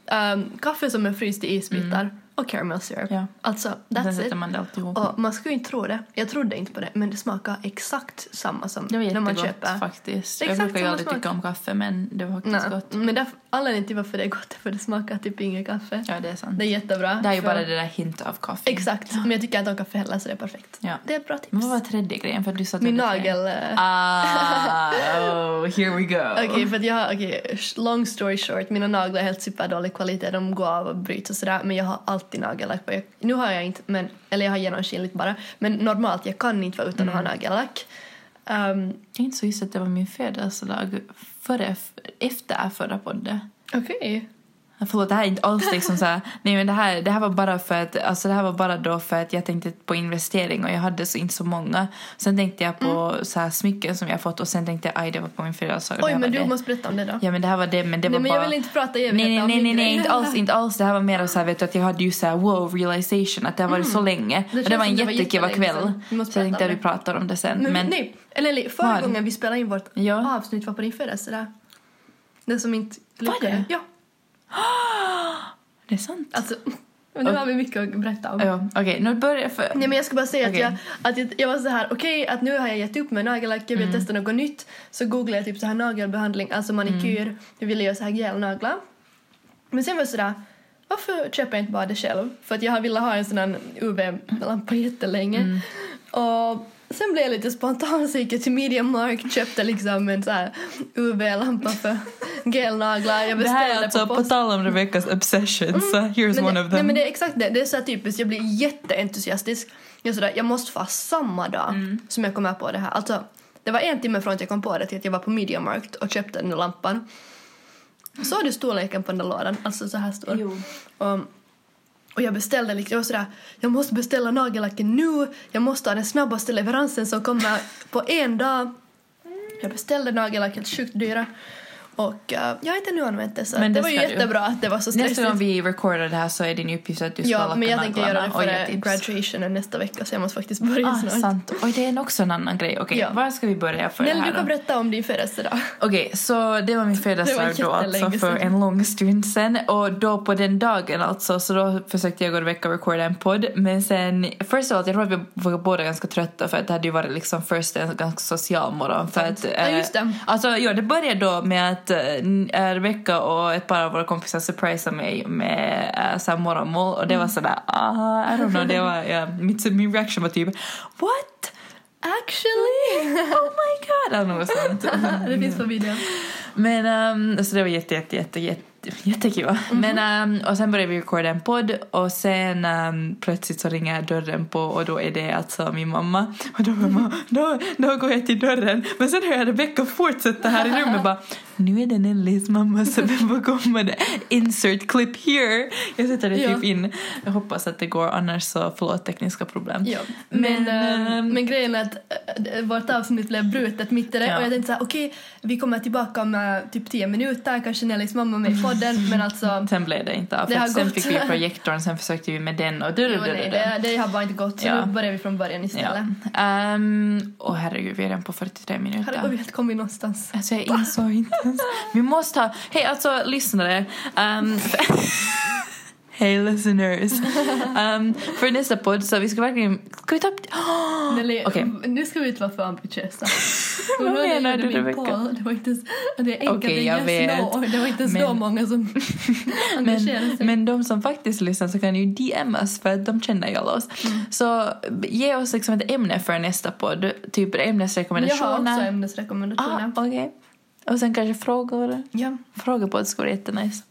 ehm, kaffe som är fryst i isbitar och caramel syrup. Ja. Alltså Sen that's it. sätter man det alltihop. Och man skulle ju inte tro det, jag trodde inte på det men det smakar exakt samma som det var när man jättegott köper. faktiskt. Exakt jag brukar ju samma aldrig smak. tycka om kaffe men det var faktiskt Nej, gott. men därför, anledningen till varför det är gott är för det smakar typ inget kaffe. Ja, det är sant. Det är jättebra. Det är ju För- bara det där hint av kaffe. Exakt, men jag tycker inte om kaffe heller så det är perfekt. Ja. Det är ett bra tips. Men vad var tredje grejen? För att du sa att Min du hade tre. nagel... eh, Ah, oh, here we go. Okej, för att jag har, okej, sh- long story short, mina naglar är helt superdålig kvalitet, de går av och bryts och sådär, men jag har alltid nagellack på. Jag, nu har jag inte, men, eller jag har genomskinligt bara, men normalt, jag kan inte vara utan Mm. att ha nagellack. Um, Jag är inte så just att det var min födelsedag före, efter förra podden. okej. Ah, Förlåt, det här är inte alls liksom så här, nej men det här, det här var bara för att, alltså det här var bara då för att jag tänkte på investering och jag hade så, inte så många. Sen tänkte jag på så här smycken som jag fått och sen tänkte jag, aj det var på min födelsedag. det Oj, här men var du det. måste berätta om det då. Ja men det här var det, men det Nej, var men bara... jag vill inte prata i Nej, nej, evighet om nej, nej, min nej, grej. inte alls, inte alls. Det här var mer av så här, vet du, att jag hade ju så här wow realization, att det har varit så länge. Mm. Det Det och det känns var en som det var jättekul jättelänge kväll. sedan. Vi måste Så jag prata tänkte om att vi det. pratar om det sen. Men, Men, nej, eller, eller förra Vad? gången vi spelade in vårt Ja. avsnitt var på din födelsedag. Det som inte Var lyckades. det? Ja, det är sant. alltså. Men nu har vi mycket att berätta om. Ja, okej, nu börjar för... Nej men jag ska bara säga Okej. att, jag, att jag, jag var så här, okej att nu har jag gett upp med nagellack, jag Mm. vill testa något nytt. Så googlade jag typ så här nagelbehandling, alltså manikyr, Mm. jag ville göra så här gelnaglar. Men sen var jag sådär, varför köper jag inte bara det själv? För att jag har velat ha en sån här UV-lampa jättelänge. Mm. Och sen blev jag lite spontan så gick jag till Media Markt köpte liksom en så här UV-lampa för gelnaglar. Jag det beställde här är alltså, på på posten. Mm. tal om Rebeckas obsessions, så here's Men one det, of nej them. men det är exakt det, det är så här typiskt, jag blir jätteentusiastisk. Jag, är sådär, jag måste få samma dag Mm. som jag kommer på det här. Alltså, det var en timme från att jag kom på det till att jag var på Media Markt och köpte den där lampan. Så du storleken på den där lådan? Alltså så här stor. Jo. Och, och jag beställde liksom, jag var sådär, jag måste beställa nagellacken nu, jag måste ha den snabbaste leveransen som kommer på en dag. Jag beställde nagellack, helt sjukt dyra. Och eh, jag har inte nu använt det så Men det, det var ju ska du. jättebra att det var så stressigt. Nästa gång vi recordar det här så är din uppgift att du ska Ja, lacka men jag tänker göra det naglarna och ge före tips. graduationen nästa vecka så jag måste faktiskt börja Ah, snart. sant. Oj, det är också en annan grej. Okej, Ja. var ska vi börja för det Nelly, här du då? kan berätta om din födelsedag. Okej, så det var min födelsedag Det då, var alltså jättelänge för sedan. en lång stund sen. Och då på den dagen alltså, så då försökte jag gå och vecka och recorda en podd. Men sen, först av allt, jag tror att vi var båda ganska trötta för att det hade ju varit liksom först en ganska social morgon. För att, Ja, just det. Alltså, ja, det började då med att eh, Rebecca och ett par av våra kompisar surprisade mig med eh, så här morgonmål och Mm. det var sådär, ah, I don't know, det var, ja, mitt, min reaction var typ, what? Actually! Oh my god! Eller något sånt. det finns på video. Men ehm, så det var jätte, jätte, jätte, jätte jättekul. Mm-hmm. Men, ehm, och sen började vi recorda en podd och sen ehm, plötsligt så ringer dörren på och då är det alltså min mamma. Och då, mamma, då, då går jag till dörren. Men sen hör jag Rebecca fortsätta här i rummet bara nu är det Nellys mamma så den får komma det. Insert clip here. Jag sätter det typ Ja. in. Jag hoppas att det går annars så förlåt tekniska problem. Ja. Men, Men, men, ehm, men grejen är att eh, vårt avsnitt blev brutet mitt i det Ja. och jag tänkte såhär okej, vi kommer tillbaka om eh, typ 10 minuter, kanske Nellys mamma med i podden men alltså Sen blev det inte av. Det för har att sen gått. fick vi projektorn, sen försökte vi med den och du, jo, nej, det, det har bara inte gått så Ja. nu börjar vi från början Ja. istället. Um, och herregud, vi är redan på 43 minuter. Här har vi helt kommit någonstans. Alltså jag insåg inte ens. Vi måste ha... Hej alltså lyssnare. Um, Hej listeners. Um, för nästa podd så vi ska verkligen... Ska vi ta upp... Oh! Nelly, mm, Okej. nu ska vi inte vara för ambitiösa. Vad Och då när jag menar gjorde du, min Rebecca? poll, Det var inte ens, det är enkelt, Okej, det jag är yes, vet. no. Det var inte ens då Men- många som engagerade Men, sig. men de som faktiskt lyssnar så kan ju DM oss för att de känner ju alla oss. Mm. Så ge oss liksom ett ämne för nästa podd. Typ jag har också ämnesrekommendationer. ämnesrekommendationer. ah, okej. Och sen kanske frågor. Ja. Frågepodd skulle vara jättenice.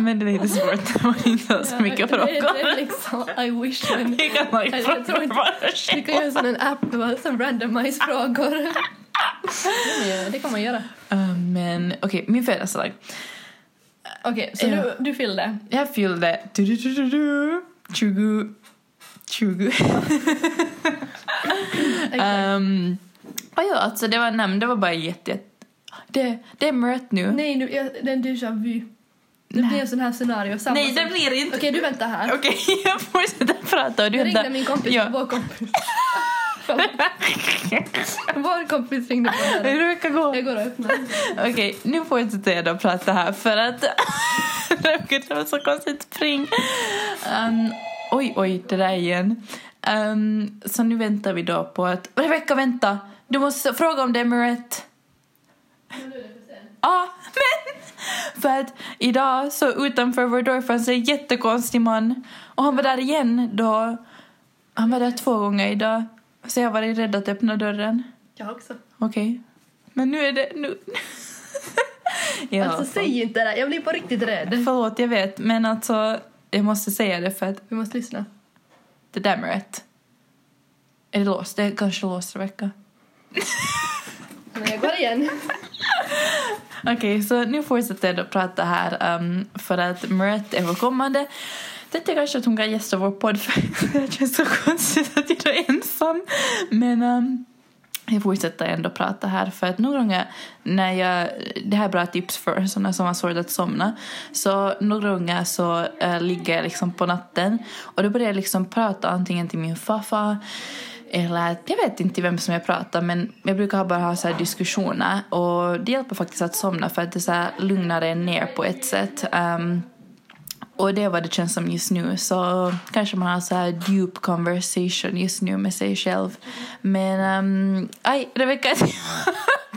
Men det är lite svårt när man inte har så mycket Det frågor. är liksom, I wish men Vi kan ha jag tror frågor inte- bara Vi kan göra en sån en app med bara sån randomize frågor. det kan man göra. Eh, Men okej, min födelsedag. Okej, så Ja. du, du fyllde? Jag fyllde du, du, du, du, du, 20... 20. Ehm, och ja, alltså det var, nej, men det var bara jätte... jätte- Det, det är mört nu. Nej, nu, jag, det är en déjà vu. Det Eh. Nej. blir en sån här scenario. Samma Nej, det som- blir inte. Okej, du väntar här. Okej, jag fortsätter prata och du Jag ringde hämtar- min kompis, Ja. vår kompis. vår kompis ringde på den. Hur det kan gå? Jag går och öppnar. Okej, nu fortsätter jag då prata här för att Gud, det var så konstigt spring. Um, oj, oj, det där igen. Um, så nu väntar vi då på att... Rebecka, vänta! Du måste fråga om det är Mirette. Ja, men! För att idag så utanför vår dörr fanns en jättekonstig man. Och han var där igen då. Han var där två gånger idag. Så jag var rädd att öppna dörren. Jag också. Okej. Men nu är det... Nu. ja, alltså säg inte det där. jag blir på riktigt rädd. Förlåt, jag vet. Men alltså, jag måste säga det för att Vi måste lyssna. det där med rätt. Är det låst? Det är kanske låst, Rebecka. Men jag går igen. Okej, så nu fortsätter jag att prata här um, för att Mirette är vår kommande. Tänkte kanske att hon kan gästa vår podd för det känns så konstigt att jag är ensam. Men um, jag fortsätter ändå prata här för att några gånger när jag, det här är bra tips för sådana som har svårt att somna, så några gånger så eh, ligger jag liksom på natten och då börjar jag liksom prata antingen till min farfar eller jag vet inte till vem som jag pratar men jag brukar bara ha så här diskussioner och det hjälper faktiskt att somna för att det så här lugnar en ner på ett sätt. Ehm, och det är vad det känns som just nu. Så kanske man har så här djup conversation just nu med sig själv. Men, ehm, aj, Rebecka.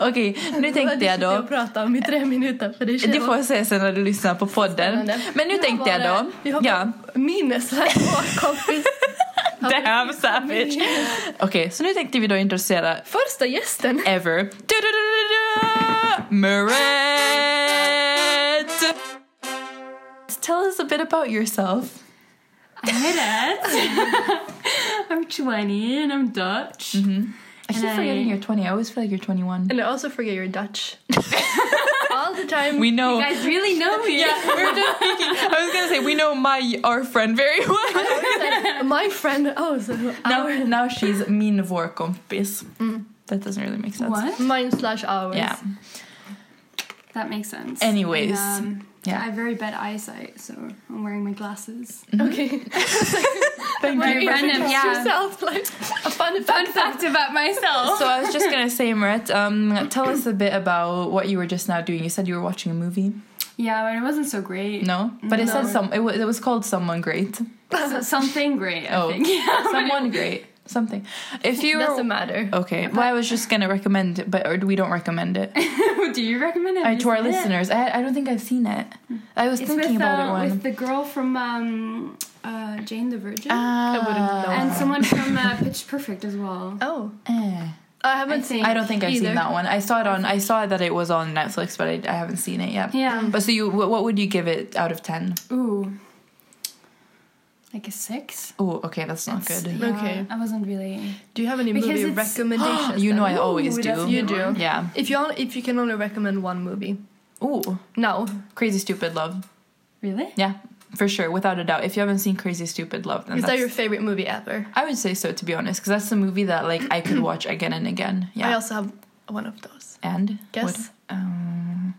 Okej, nu tänkte jag sitter då. och pratar om i tre minuter för dig själv. Du får se sen när du lyssnar på podden. Spännande. Men nu har tänkte jag bara- då. Vi har Ja. bara minnes här, vår kompis. Han Damn precis som savage. mig. Okej, så nu tänkte vi då introducera Första gästen. ever. Du-du-du-du-du! Mirette! Tell us a bit about yourself. Hi that. I'm 20 and I'm Dutch. Mm-hmm. I keep Hello. forgetting you're 20. I always feel like you're 21. And I also forget you're Dutch. All the time. We know. You guys really know me. we're just speaking. I was gonna say we know my our friend very well. My friend. Oh, so now, our. now she's min vår kompis. That doesn't really make sense. Mm. What? Mine slash ours. Yeah. That makes sense. Anyways, And, um, yeah. I have very bad eyesight, so I'm wearing my glasses. Okay. Thank Very you. random, Introduce yeah. yourself, like, a Fun fun fact. fact about myself. So I was just gonna say, Marit, um, tell us a bit about what you were just now doing. You said you were watching a movie. yeah, but it wasn't so great. No, but it said No. some. It was, it was called someone great. So- something great, I Oh. think. Yeah, but it- Someone great. Something. If you were Doesn't matter. okay, well, I was just gonna recommend, it, but or we don't recommend it Do you recommend it? I, Have to you our seen it? Hmm. listeners. I, I don't think I've seen it. I was It's thinking with, about uh, it one. with the girl from um, uh, Jane the Virgin. Ah. wouldn't know. and someone from uh, Pitch Perfect as well. Oh, Eh. I haven't I seen. think. I don't think I've Either. seen that one. I saw it on. I saw that it was on Netflix, but I, I haven't seen it yet. Yeah. But so you, wh- what would you give it out of ten? Ooh. Like a six? Oh, okay, that's not It's- good. yeah, Okay. I wasn't really. Do you have any Because movie it's- recommendations? You know then? I always Ooh, that's do. a You good do. one. Yeah. If you only, if you can only recommend one movie Ooh, now, Crazy Stupid Love. Really? Yeah, for sure, without a doubt. If you haven't seen Crazy Stupid Love, then is that that's, your favorite movie ever? I would say so to be honest, because that's the movie that like I could watch again and again. I Yeah. also have one of those. And Guess. What, um,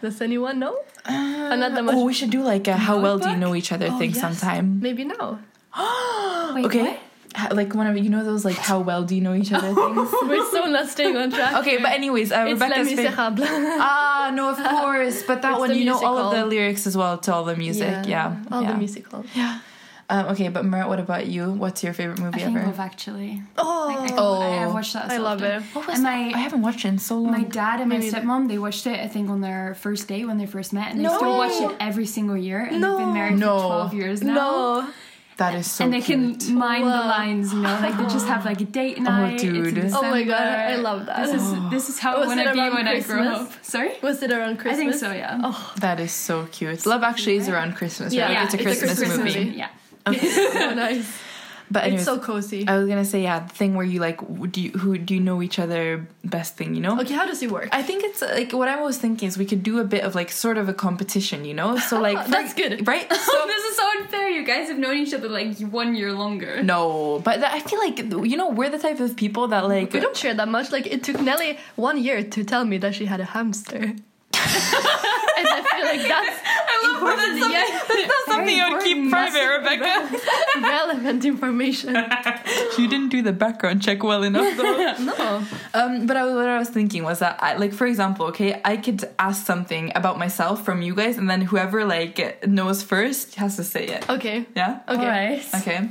Does anyone know? Another much. oh, we should do like a how well do you Notebook? know each other Oh, thing yes. sometime. Maybe now. Wait, okay. what? Ha- Like one of you know those like how well do you know each other things. We're so not staying on track. Okay, but anyways, uh, it's Rebecca's Les favorite. Miserables. Ah, no, of course. But that It's one, the you know all of the musical. lyrics as well to all the music. Yeah. All yeah. the musicals. Yeah. Um, okay, but Merritt, what about you? What's your favorite I movie think ever? Love Actually. I, Oh, Oh. I, I watched that. I so love often. it. What was and that? I my haven't watched it in so long. my dad and my Maybe the- stepmom they watched it. I think on their first date when they first met, and they No. still watch it every single year. And they've No. been married No. for twelve years now. no. That is so and they can cute. mind the Wow. lines, you know, like they just have like a date night. it's in dude. Oh my god, December. I love that. This is this is how Was it it wanna be around when I grow up. Oh, Christmas? Sorry, Was it around I Christmas? think so. Yeah. Oh, That is so cute. Love Actually is around Christmas, right? Yeah, Like, it's a Christmas, movie. Yeah. so nice. But anyways, It's so cozy. I was gonna say yeah, the thing where you like w- do you, who do you know each other best thing, you know? Okay, how does it work? I think it's like what I was thinking is we could do a bit of like sort of a competition, you know? So like That's good. right? So So this is so unfair. You guys have known each other like one year longer. no, but that, I feel like you know we're the type of people that like We don't share that much. Like it took Nelly one year to tell me that she had a hamster. and I feel like that's I love how that's something- that's not something I would keep private, Rebecca. relevant information. you didn't do the background check well enough, though. No. Um, but I, what I was thinking was that, I, like, for example, okay, I could ask something about myself from you guys, and then whoever like knows first has to say it. Okay. Yeah. Okay. Alright. Okay.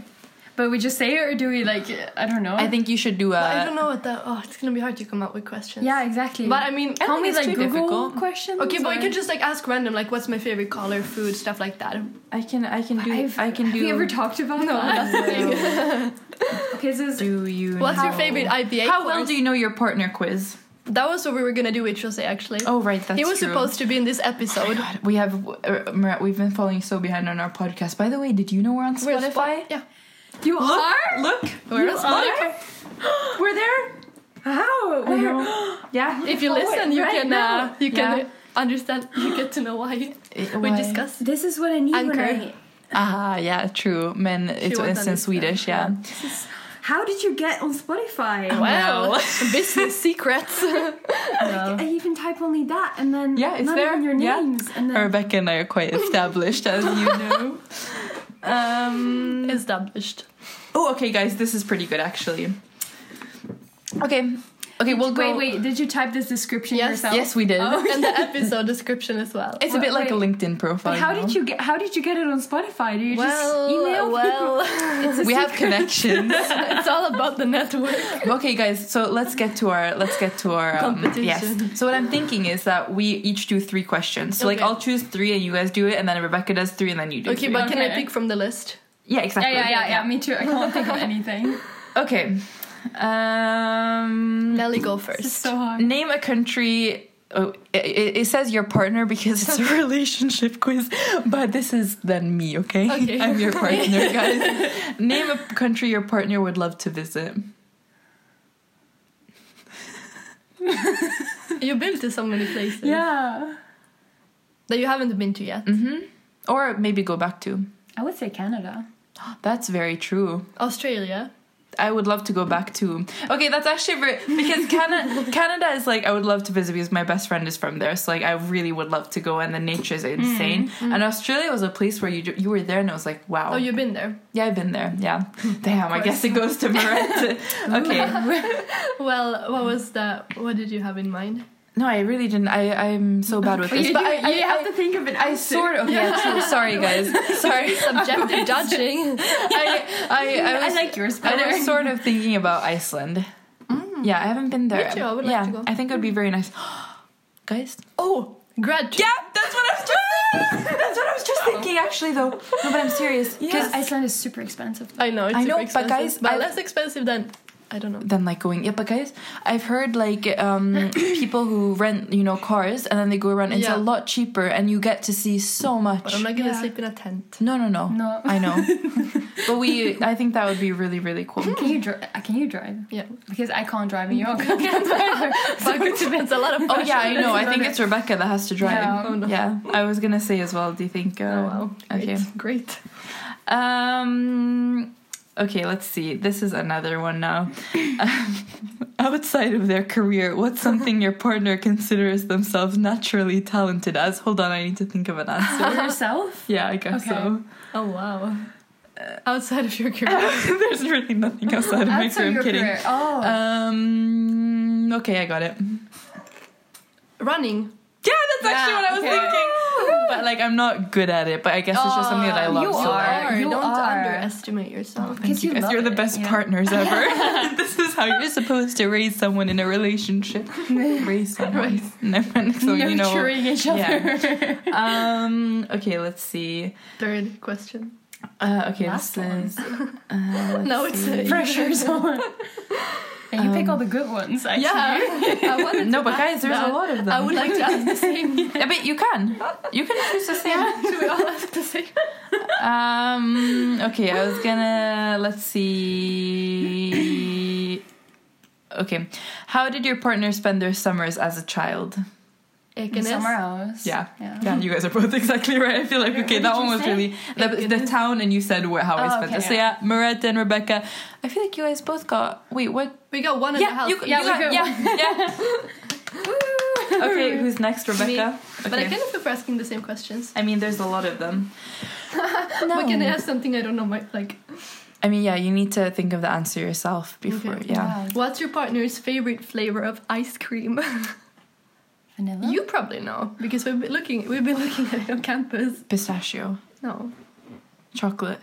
But we just say it, or do we like? I don't know. I think you should do a. I don't know what that. Oh, it's gonna be hard to come up with questions. Yeah, exactly. But I mean, I don't think Can we it's like too Google difficult. questions? okay, but or- we can just like ask random, like what's my favorite color, food, stuff like that. I can. I can do. I've- I can Have do. we ever talked about No, that? that's the thing. Okay, so it's- do you? What's your know- favorite IPA? How well do you know your partner quiz? you- that was what we were gonna do with Jose actually. Oh right, that's he was true. supposed to be in this episode. God, we have uh, Marat, we've been falling so behind on our podcast. By the way, did you know we're on We're Spotify? Spotify. Yeah. you are. Look, We're on You Spotify. we're there. I How? Where? know. yeah. If you Oh, listen, you right can uh, now. you can Yeah. understand. You get to know why It- we why? discuss. This is what I need when Anchor. I. Ah, yeah, true. Men, it's, won't it's in understand. Swedish, yeah. How did you get on Spotify? Oh, Wow, business secrets. I even type only that, and then Yeah, it's not there. even your yeah. names, and then Rebecca and I are quite established, as you know. Um, Established. oh, okay, guys, this is pretty good actually. Okay, okay, we'll go. wait, wait. Did you type this description Yes, yourself? Yes, we did. Oh. And the episode description as well. It's a bit like a Wait. LinkedIn profile. But how did know? you get? How did you get it on Spotify? Do you just email people? It's a We have secret. connections. it's all about the network. okay, guys. So let's get to our let's get to our um, Competition. Yes. So what I'm thinking is that we each do three questions. So like Okay. I'll choose three and you guys do it, and then Rebecca does three and then you do. Okay, three. but can I Okay. pick from the list? yeah, exactly. Me too. I can't think of anything. Okay. Um, Nelly, go This is first. so hard. name a country. Oh, it, it it says your partner because it's a relationship quiz, but this is then me, okay? Okay. I'm your partner, guys. Name a country your partner would love to visit. You've been to so many places Yeah. that you haven't been to yet. Mm-hmm. Or maybe go back to. I would say Canada. That's very true. Australia. I would love to go back to. Okay, that's actually very, because Canada, Canada is like I would love to visit because my best friend is from there, so like I really would love to go, and the nature is insane. And Australia was a place where you ju- you were there, and it was like wow. Mm, Oh, you've been there. yeah, I've been there. Yeah, damn. I guess it goes to Maret. okay. Well, what was the? What did you have in mind? No, I really didn't. I I'm so bad with this, but I, I, have to think of an I sort of yeah. True. Sorry, guys. Sorry. Subjective judging. I I I was like yours I was sort of thinking about Iceland. Yeah, I haven't been there. Mm. Me too, I would like yeah, to go. I think it would be very nice. Guys? Oh, grad. Yeah, that's what I was just thinking. That's what I was just thinking, actually, though. No, but I'm serious. Because Because Iceland is super expensive. I know. It's I super know, but expensive, guys, but I- less expensive than I don't know. then like going yeah but guys i've heard like um people who rent you know cars and then they go around it's Yeah. a lot cheaper and you get to see so much But I'm not gonna Yeah. sleep in a tent. no no no No. i know but we i think that would be really really cool Can you drive? Can you drive? Yeah. Because I can't drive and you can't drive. But it's a lot of Oh yeah, I pressure. know. I think it's Rebecca that has to drive. Yeah. Yeah, Oh, no. I was gonna say as well. Do you think? Uh, Oh wow. Okay. Great. Great. Um. Okay. Let's see. This is another one now. Outside of their career, what's something your partner considers themselves naturally talented as? Hold on, I need to think of an answer. yourself? Yeah, I guess so. Oh wow. Outside of your career. There's really nothing outside of my career. I'm kidding. Oh. Um. Okay, I got it. Running. Yeah, that's actually Yeah, what I was okay. thinking. But like, I'm not good at it. But I guess it's just something that I Oh, love. you so are. much. you Don't are. underestimate yourself. Because you guys, you're the best partners ever. this is how you're supposed to raise someone in a relationship. raise someone. Never, so you know. Nurturing each yeah. other. Um. Okay. Let's see. Third question. Uh, okay, Last this one. is. Uh, No, it's a Pressure's on. And you pick all the good ones, actually. Yeah, Oh I wanted no, to but ask guys, there's that. a lot of them. I would like to ask the same. Yeah, but you can. You can choose the same. Should we all ask the same? Um. Okay, I was gonna. Let's see. Okay, how did your partner spend their summers as a child? In somewhere Ekenes. else. Yeah. Yeah. Yeah, you guys are both exactly right. I feel like okay, What that did one you was say? really the, the town, and you said where, how I Oh, spent okay, it. So yeah, Marette and Rebecca. I feel like you guys both got. Wait, what? We got one and a Yeah, half. you, Yeah, you we got, got yeah, yeah. okay, who's next, Rebecca? Okay. But I kind of feel for asking the same questions. I mean, there's a lot of them. But can I ask something I don't know? My, like, I mean, yeah, you need to think of the answer yourself before. Okay. Yeah. Wow. what's your partner's favorite flavor of ice cream? Vanilla? you probably know because we've been looking. We've been looking at it on campus. Pistachio, No, chocolate.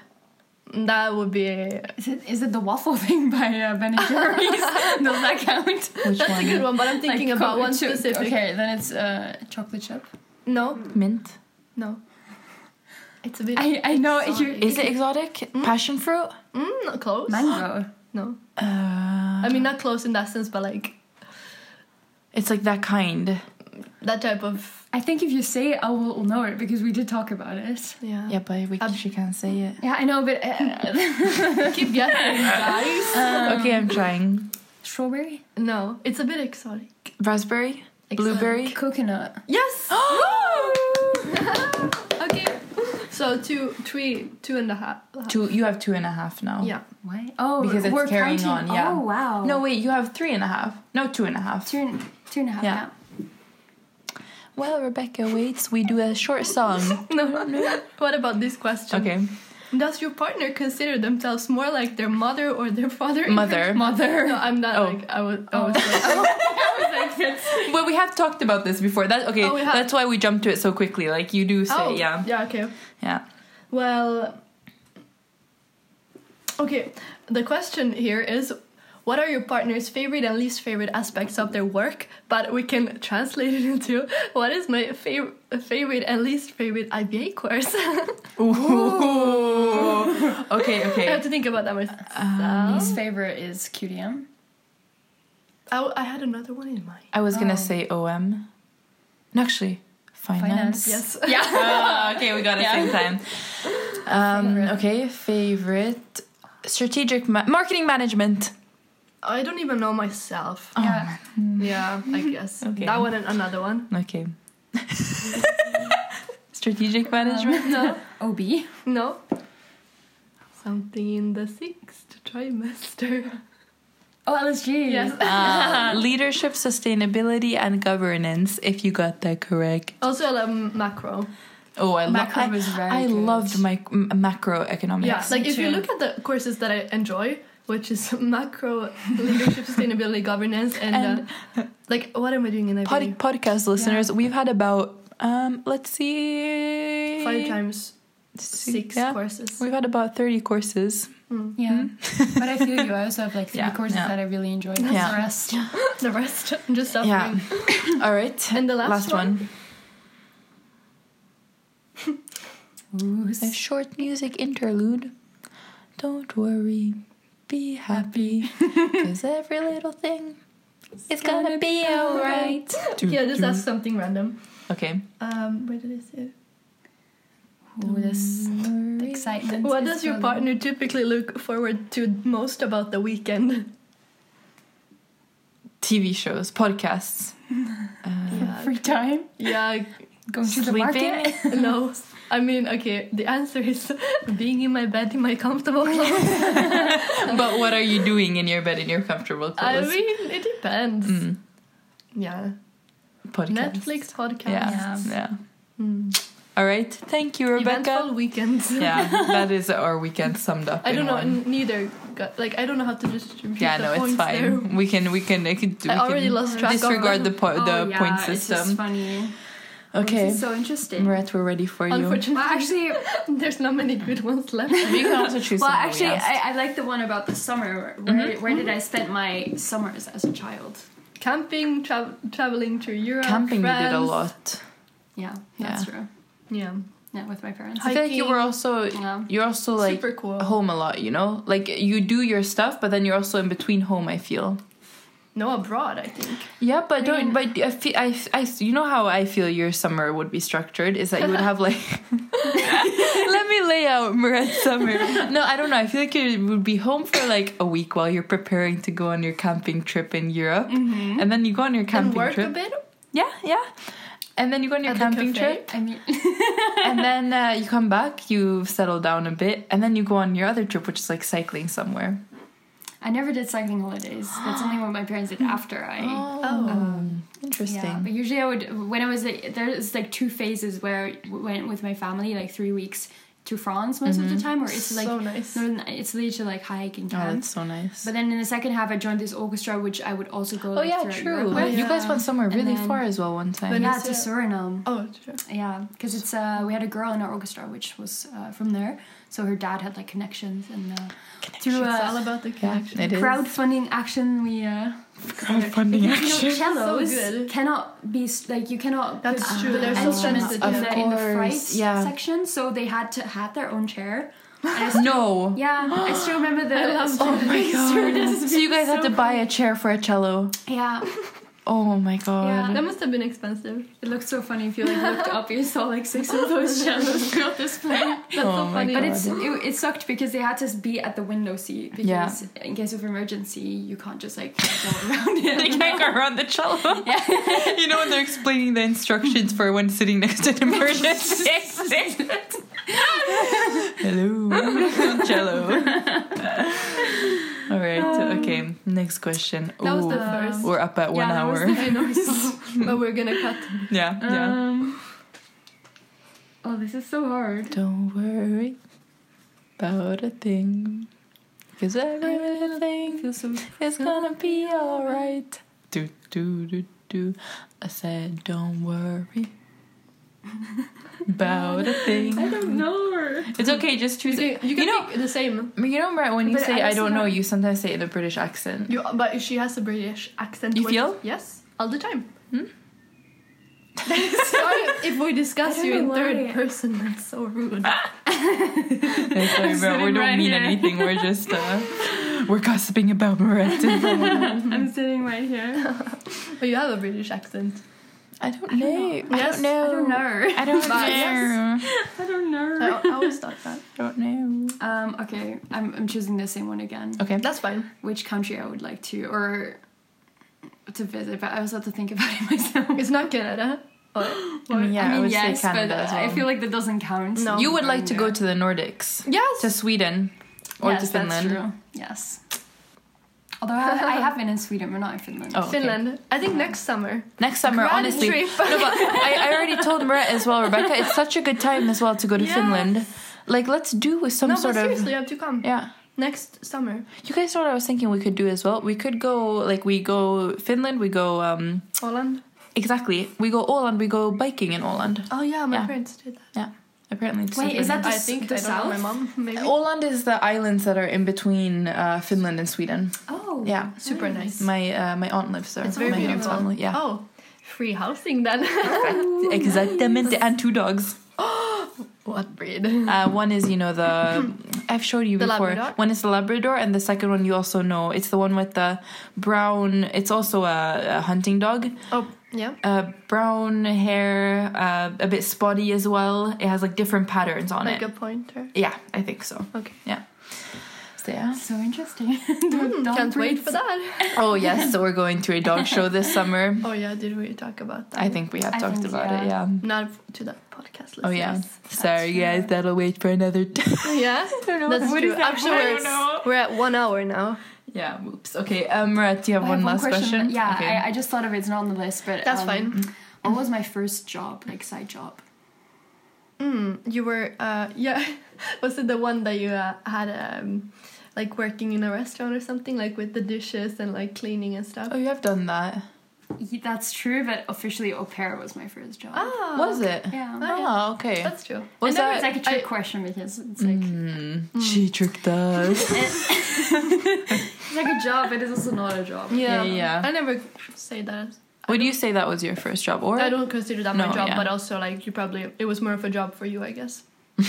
that would be Is it, is it the waffle thing by uh, Ben and Jerry's? Does that count? Which That's one? oh, a good one, but I'm thinking Like, about co- one cho- specific. Okay, then it's uh, chocolate chip. No, Mint. no. It's a bit. I, I know you. Is it exotic? Passion fruit. mm, not close. mango? No. Uh, I I mean, mean, not close in that sense, but like it's like that kind. that type of. I think if you say it, I will know it because we did talk about it. Yeah. Yeah, but we, Ab- she can't say it. Yeah, I know, but uh, Keep guessing, guys. okay, I'm trying. Um, strawberry, No, it's a bit exotic. Raspberry. Blueberry. uh, coconut. Yes. okay. So two, three, two and a half. Two. You have two and a half now. Yeah. Why? Oh, Because it's we're carrying counting- on, yeah. Oh wow. No, wait. You have three and a half. No, two and a half. two and, two and a half. Yeah. Yeah. Well, Rebecca waits. We do a short song. No, no. What about this question? okay. Does your partner consider themselves more like their mother or their father? Mother. Mother. No, I'm not Oh. like I was. I was like, Well, we have talked about this before. That okay. Oh, we have. that's why we jumped to it so quickly. Like you do say, oh, yeah, Yeah. Okay. yeah. Well, okay. The question here is what are your partner's favorite and least favorite aspects of their work? But we can translate it into what is my fav- favorite and least favorite IBA course? Ooh. okay, Um, I okay. have to think about that myself. Least favorite is QDM. I, w- I had another one in mind. I was gonna Oh. say OM. No, actually, finance. Finance. Yes. Yeah. Ah, okay, we got it same time. Um, Favorite. okay, favorite strategic ma- marketing management. I don't even know myself. oh, yeah. Yeah, I guess. Mm. Okay. That one and another one. Oh, Okay. strategic management. No. OB. No. Something in the sixth trimester. Oh, LSG. Yes. Uh, leadership, sustainability, and governance. If you got that correct. Also, I love macro. Oh, I love. Macro I, was very I good. loved my m- macroeconomics. Yeah, like if you too. look at the courses that I enjoy, which is macro leadership, sustainability, governance, and, uh, like what am I doing in IB? Pod- podcast listeners, we've had about um, let's see, Five times See, six yeah. courses. Hmm. We've had about thirty courses. Hmm? Yeah. but I feel you. I also have like three Yeah, courses yeah. that I really enjoy. Yeah. The rest. The rest, I'm just suffering. Yeah. All right. And the last one. Ooh, A short music interlude. Don't worry, be happy, cause every little thing is gonna be alright. Yeah, just ask something random. Okay. Um, where did I say? it? Hmm. ooh, this Don't worry. excitement. What is does your building. partner typically look forward to most about the weekend? TV shows, podcasts. Uh, Yeah, Free time. yeah, Going to the Sleeping. market. no. I mean, okay. The answer is being in my bed in my comfortable clothes. but what are you doing in your bed in your comfortable I clothes? mean, it depends. Mm. Yeah. Podcast. Netflix podcast. Yeah. Yeah. Yeah. Mm. All right. Thank you, Rebecca. Eventful weekends. yeah, that is our weekend summed up. I in don't know. one. n- Neither. Got, like I don't know how to distribute. Yeah, the no, it's points fine. There. We can, we can, we can. I already lost track of disregard the them. po- the Oh, yeah, point it's just system. funny. Okay, This is so interesting. Murat, we're ready for you. Unfortunately, Well, actually, there's not many good ones left. You can also choose. well, something actually, else. I, I like the one about the summer. Where, where did I spend my summers as a child? Camping, tra- traveling to Europe, camping we France. did a lot. Yeah, Yeah. that's true. Yeah. yeah, with my parents. I feel like you were also Yeah. you're also like Super cool. home a lot, you know? Like you do your stuff, but then you're also in between home, I feel. No, abroad, I think. Yeah, but don't. But I feel I, I you know how I feel your summer would be structured is that you would have like. Let me lay out Maret's summer. No, I don't know. I feel like you would be home for like a week while you're preparing to go on your camping trip in Europe, and then you go on your Mm-hmm. And camping work trip. a bit. Yeah, yeah. And then you go on your At the camping cafe. trip, I mean, and then uh, you come back, you settle down a bit, and then you go on your other trip, which is like cycling somewhere. I never did cycling holidays. That's only what my parents did after I. Oh. Um, interesting. Yeah, but usually I would when I was like there's like two phases where I w- went with my family like three weeks to France most of the time, or it's like so nice. northern Italy to like hike and oh, camp. that's so nice. but then in the second half, I joined this orchestra, which I would also go. Oh like, yeah, throughout true. Europe Yeah. with. You guys went somewhere And really then- far as well one time. But- Yeah, to Venice, Suriname. Oh, sure. Yeah, because it's uh, we had a girl in our orchestra which was uh, from there, so her dad had like connections and uh, through it's all uh, about the connection. it is. crowdfunding action we uh, Crowdfunding you know cellos So good. cannot be s- like you cannot That's put true, they're so instruments sensitive. in the, in the Of fright course, yeah. section, so they had to had their own chair. No. Yeah, I still remember the. I love Oh my god. So you guys had to buy a chair for a cello. Yeah, Oh my god. That must have been expensive. it looked so funny if you like looked up, you saw like six of those cellos throughout this plane. That's Oh so my funny. God. But it's it, it sucked because they had to be at the window seat because in case of emergency you can't just like go around They it. can't go around the cello. you know when they're explaining the instructions for when sitting next to an emergency exit. Hello, I'm on cello. All right. Um, okay. Next question. That was the Ooh, first. We're up at one Yeah, that was hour. the- I know. but we're gonna cut. yeah. Yeah. Um, oh, this is so hard. Don't worry about a thing. Cause every little thing is gonna be alright. Do, do, do, do. I said, don't worry about a thing. don't know. It's okay, just choose You, it. you You can know, pick the same. you know, Brett, when you But say I I, also don't know, don't- you sometimes say it in a British accent. You, but she has a British accent. You which- feel? Yes, all the time. Hmm? Sorry if we discuss I don't you in know third why. person. That's so rude. Yeah, sorry, Brett, we sitting don't right mean here. anything. We're just, uh, we're gossiping about Brett. I'm sitting right here. But you have a British accent. I don't know. I Yes, don't know. I don't know. I don't know. But yes. Oh. I don't know. I, I always thought that. I don't know. Um, okay, I'm, I'm choosing the same one again. Okay. That's fine. Which country I would like to or to visit, but I also have to think about it myself. It's not Canada. Oh, I mean, yeah, I, I mean, would yes, say Canada but as well. I feel like that doesn't count. No. you would like to go to the Nordics, yes. to Sweden, or yes, to Finland. That's true. Yes. Although I, I have been in Sweden, but not in Finland. Oh. okay. Finland. I think next summer. Next summer, Grand honestly, trip. No, but I, I already told Maret as well, Rebecca. It's such a good time as well to go to Yes. Finland. Like, let's do with some no, sort but of seriously, you have to come yeah. next summer. You guys know what I was thinking? We could do as well. We could go like we go Finland. We go um Holland. exactly. We go Åland. We go biking in Åland. Oh yeah, my Yeah. parents did that. Yeah, apparently. It's Wait, super is that I The s- think the I don't know, my south? mom maybe. nice. Åland is the islands that are in between uh, Finland and Sweden. Oh. Yeah, Super nice. my uh, my aunt lives there. It's very my aunt's beautiful. family. Yeah. Oh, free housing then. Exactamente, and two dogs. what breed? Uh, one is, you know, the I've showed you The before. Labrador? One is the Labrador, and the second one you also know. It's the one with the brown. It's also a, a hunting dog. Oh yeah. Uh, brown hair, uh, a bit spotty as well. It has like different patterns on Like it. a pointer. yeah, I think so. Okay. Yeah. So yeah. So interesting. Hmm, Dog can't wait breeds. for that. Oh yes, so we're going to a dog show this summer. Oh yeah, did we talk about that? I think we have I talked think, about it. yeah. Yeah. Not f- to that podcast. Oh yeah. Sorry guys, that'll wait for another. time. listeners. Yeah. don't know. That's What true. is that? Actually, I we're, don't know. we're at one hour now. Yeah, whoops. Okay, um, Marat, do you have I one have last question? Yeah, Okay. I, I just thought of it. It's not on the list, but That's um, fine. What was my first job, like side job? Mm, you were, uh, yeah. Was it the one that you uh, had, um, like working in a restaurant or something, like with the dishes and like cleaning and stuff? Oh, you have done that. Ye- That's true, but officially, au pair was my first job. Ah, was it? Yeah. Oh, Oh, okay. That's true. was and that that? was like a trick I- question because it's like Mm, She tricked us. it's like a job, but it's also not a job. Yeah, yeah. I never say that. Would you say that was your first job? Or I don't consider that No, my job, yeah. but also like you probably it was more of a job for you, I guess.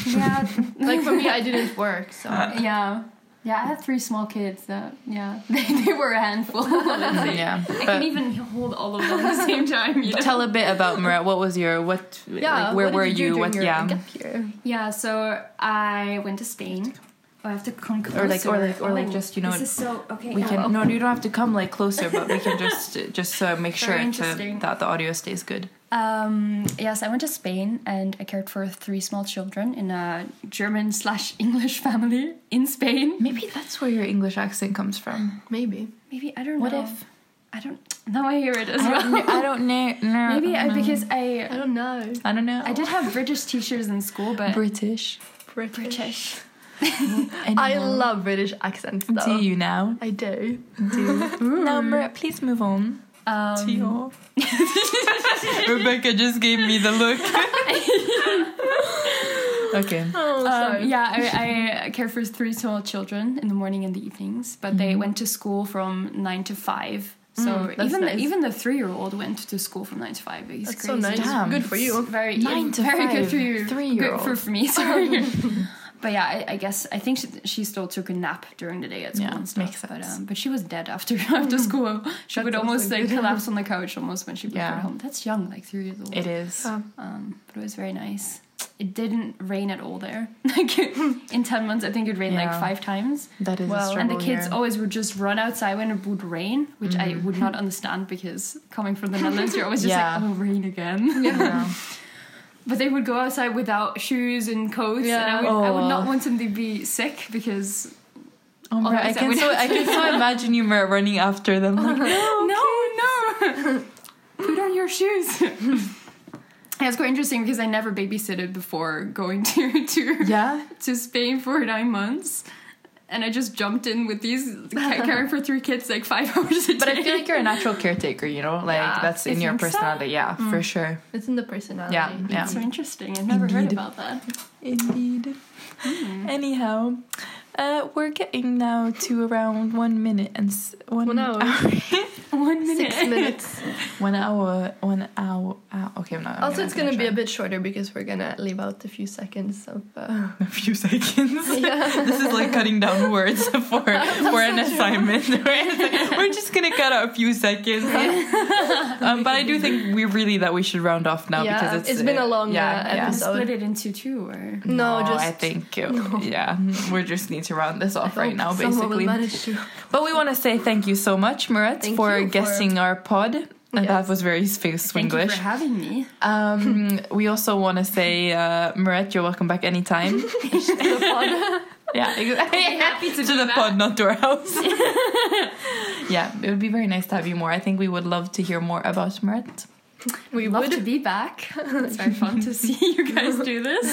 yeah, Like for me, I didn't work, so Uh, yeah, yeah. I had three small kids. That yeah, they, they were a handful. I Yeah. can But even hold all of them at the same time. You know? tell a bit about Murat. What was your what? yeah. like, where what did were you? do you? during What? your Yeah. gap year? Yeah, so I went to Spain. Oh, I have to come closer. Or like- or like- or like just, you know, This is so okay. oh, We yeah. can no, you don't have to come like closer, but we can just just uh, make sure Very to, interesting. that the audio stays good. Um, yes, I went to Spain and I cared for three small children in a German slash English family in Spain. Maybe that's where your English accent comes from. Maybe. Maybe I don't What know. if? I don't? Now I hear it as I well. don't, kn- I don't know. No, Maybe I, no. because I I don't know. I don't know. I did have British teachers in school, but British. British. British. I Anymore. love British accents though. Do you now? I do. Hmm. Now, Murat, please move on. Um, to your- Rebecca just gave me the look. okay. Oh, Um, yeah, I, I care for three small children in the morning and the evenings, but they went to school from nine to five. So Mm-hmm. Mm, that's even nice. the, even the three year old went to school from nine to five. He's That's so crazy. nice. Damn. Good for It's you. Very Nine to very five, good for you. three-year-old. Good for, for me. Sorry. but yeah, I, I guess I think she, she still took a nap during the day at school. Yeah, and stuff, makes But, sense. Mm. um, but she was dead after after school. She That's would almost also like good. collapse on the couch almost when she would Yeah. go home. That's young, like three years old. It is. Uh, Um, but it was very nice. It didn't rain at all there. Like in ten months, I think it rained Yeah. like five times. That is Well, a And struggle the kids here. always would just run outside when it would rain, which I would not understand because coming from the Netherlands, you're always just Mm. Yeah. like, "Oh, rain again." Yeah. But they would go outside without shoes and coats, and I Yeah. would, I would Oh. not want them to be sick because Oh my! I Otherwise I can would so have I can so imagine you Mer, running after them. Like, no, no, put on your shoes. Yeah, it's quite interesting because I never babysitted before going to to yeah, to Spain for nine months. And I just jumped in with these ca- caring for three kids like five hours a day. but I feel like you're a natural caretaker. You know, like Yeah, that's I in your think so. personality. Yeah, for sure. It's in the personality. Yeah, yeah. That's so interesting. I've never heard Indeed. Hmm. about that. Indeed. Anyhow, uh, we're getting now to around one minute and s- one, One hour. One minute. Six minutes. one hour, one hour. hour. Okay, I'm not. I'm Also, it's gonna gonna be a finish bit shorter because we're gonna leave out a few seconds of. Uh, that. a few seconds. yeah. This is like cutting down words for for an assignment. right? It's like, we're just gonna cut out a few seconds, um, but I do think we really that we should round off now Yeah, because it's it's been a long, uh, Wanna episode. Split it into two or No, just. I think uh, yeah, we just need to round this off I right hope now, someone will basically. manage to- But we want to say thank you so much, Murat, Thank for you for- guessing our pod. And that Yes. was very space Thank you English. for having me. Um, we also want to say, uh, Murat, you're welcome back anytime. yeah, exactly. happy to do the that. pod, not to our house. yeah, it would be very nice to have you more. I think we would love to hear more about Murat. We Love would. to be back. It's very fun to see you guys do this.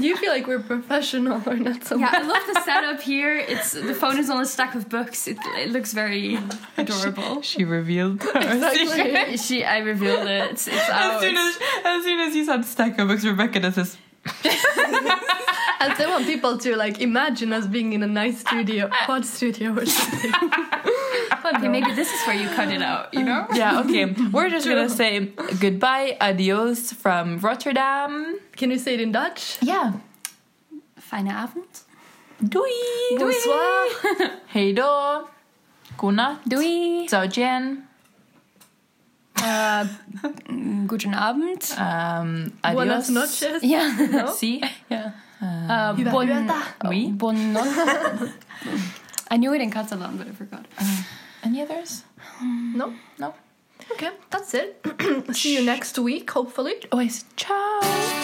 Do you feel like we're professional or not so Yeah, much? I love the setup here. It's the phone is on a stack of books. It, it looks very adorable. She revealed her secret. she, she, I revealed it. It's, it's As out. soon as, as soon as you said stack of books, Rebecca does this. And I want people to like imagine us being in a nice studio, pod studio or something. okay, maybe this is where you cut it out. You know. Yeah, okay. We're just gonna say goodbye, adios from Rotterdam. Can you say it in Dutch? Yeah. Fijne avond. Doei. Bonsoir. Hey då. Godnatt. Doei. Ciao Jen. Uh, guten Abend. Um, adios. Buenas noches. Yeah. Si. Yeah. Uh, Hyvää Äh, bon, yötä. Oui. bon notte. I knew it in Catalan, but I forgot. Any others? No? No. Okay, that's it. See you next week, hopefully. Always Oh, ciao.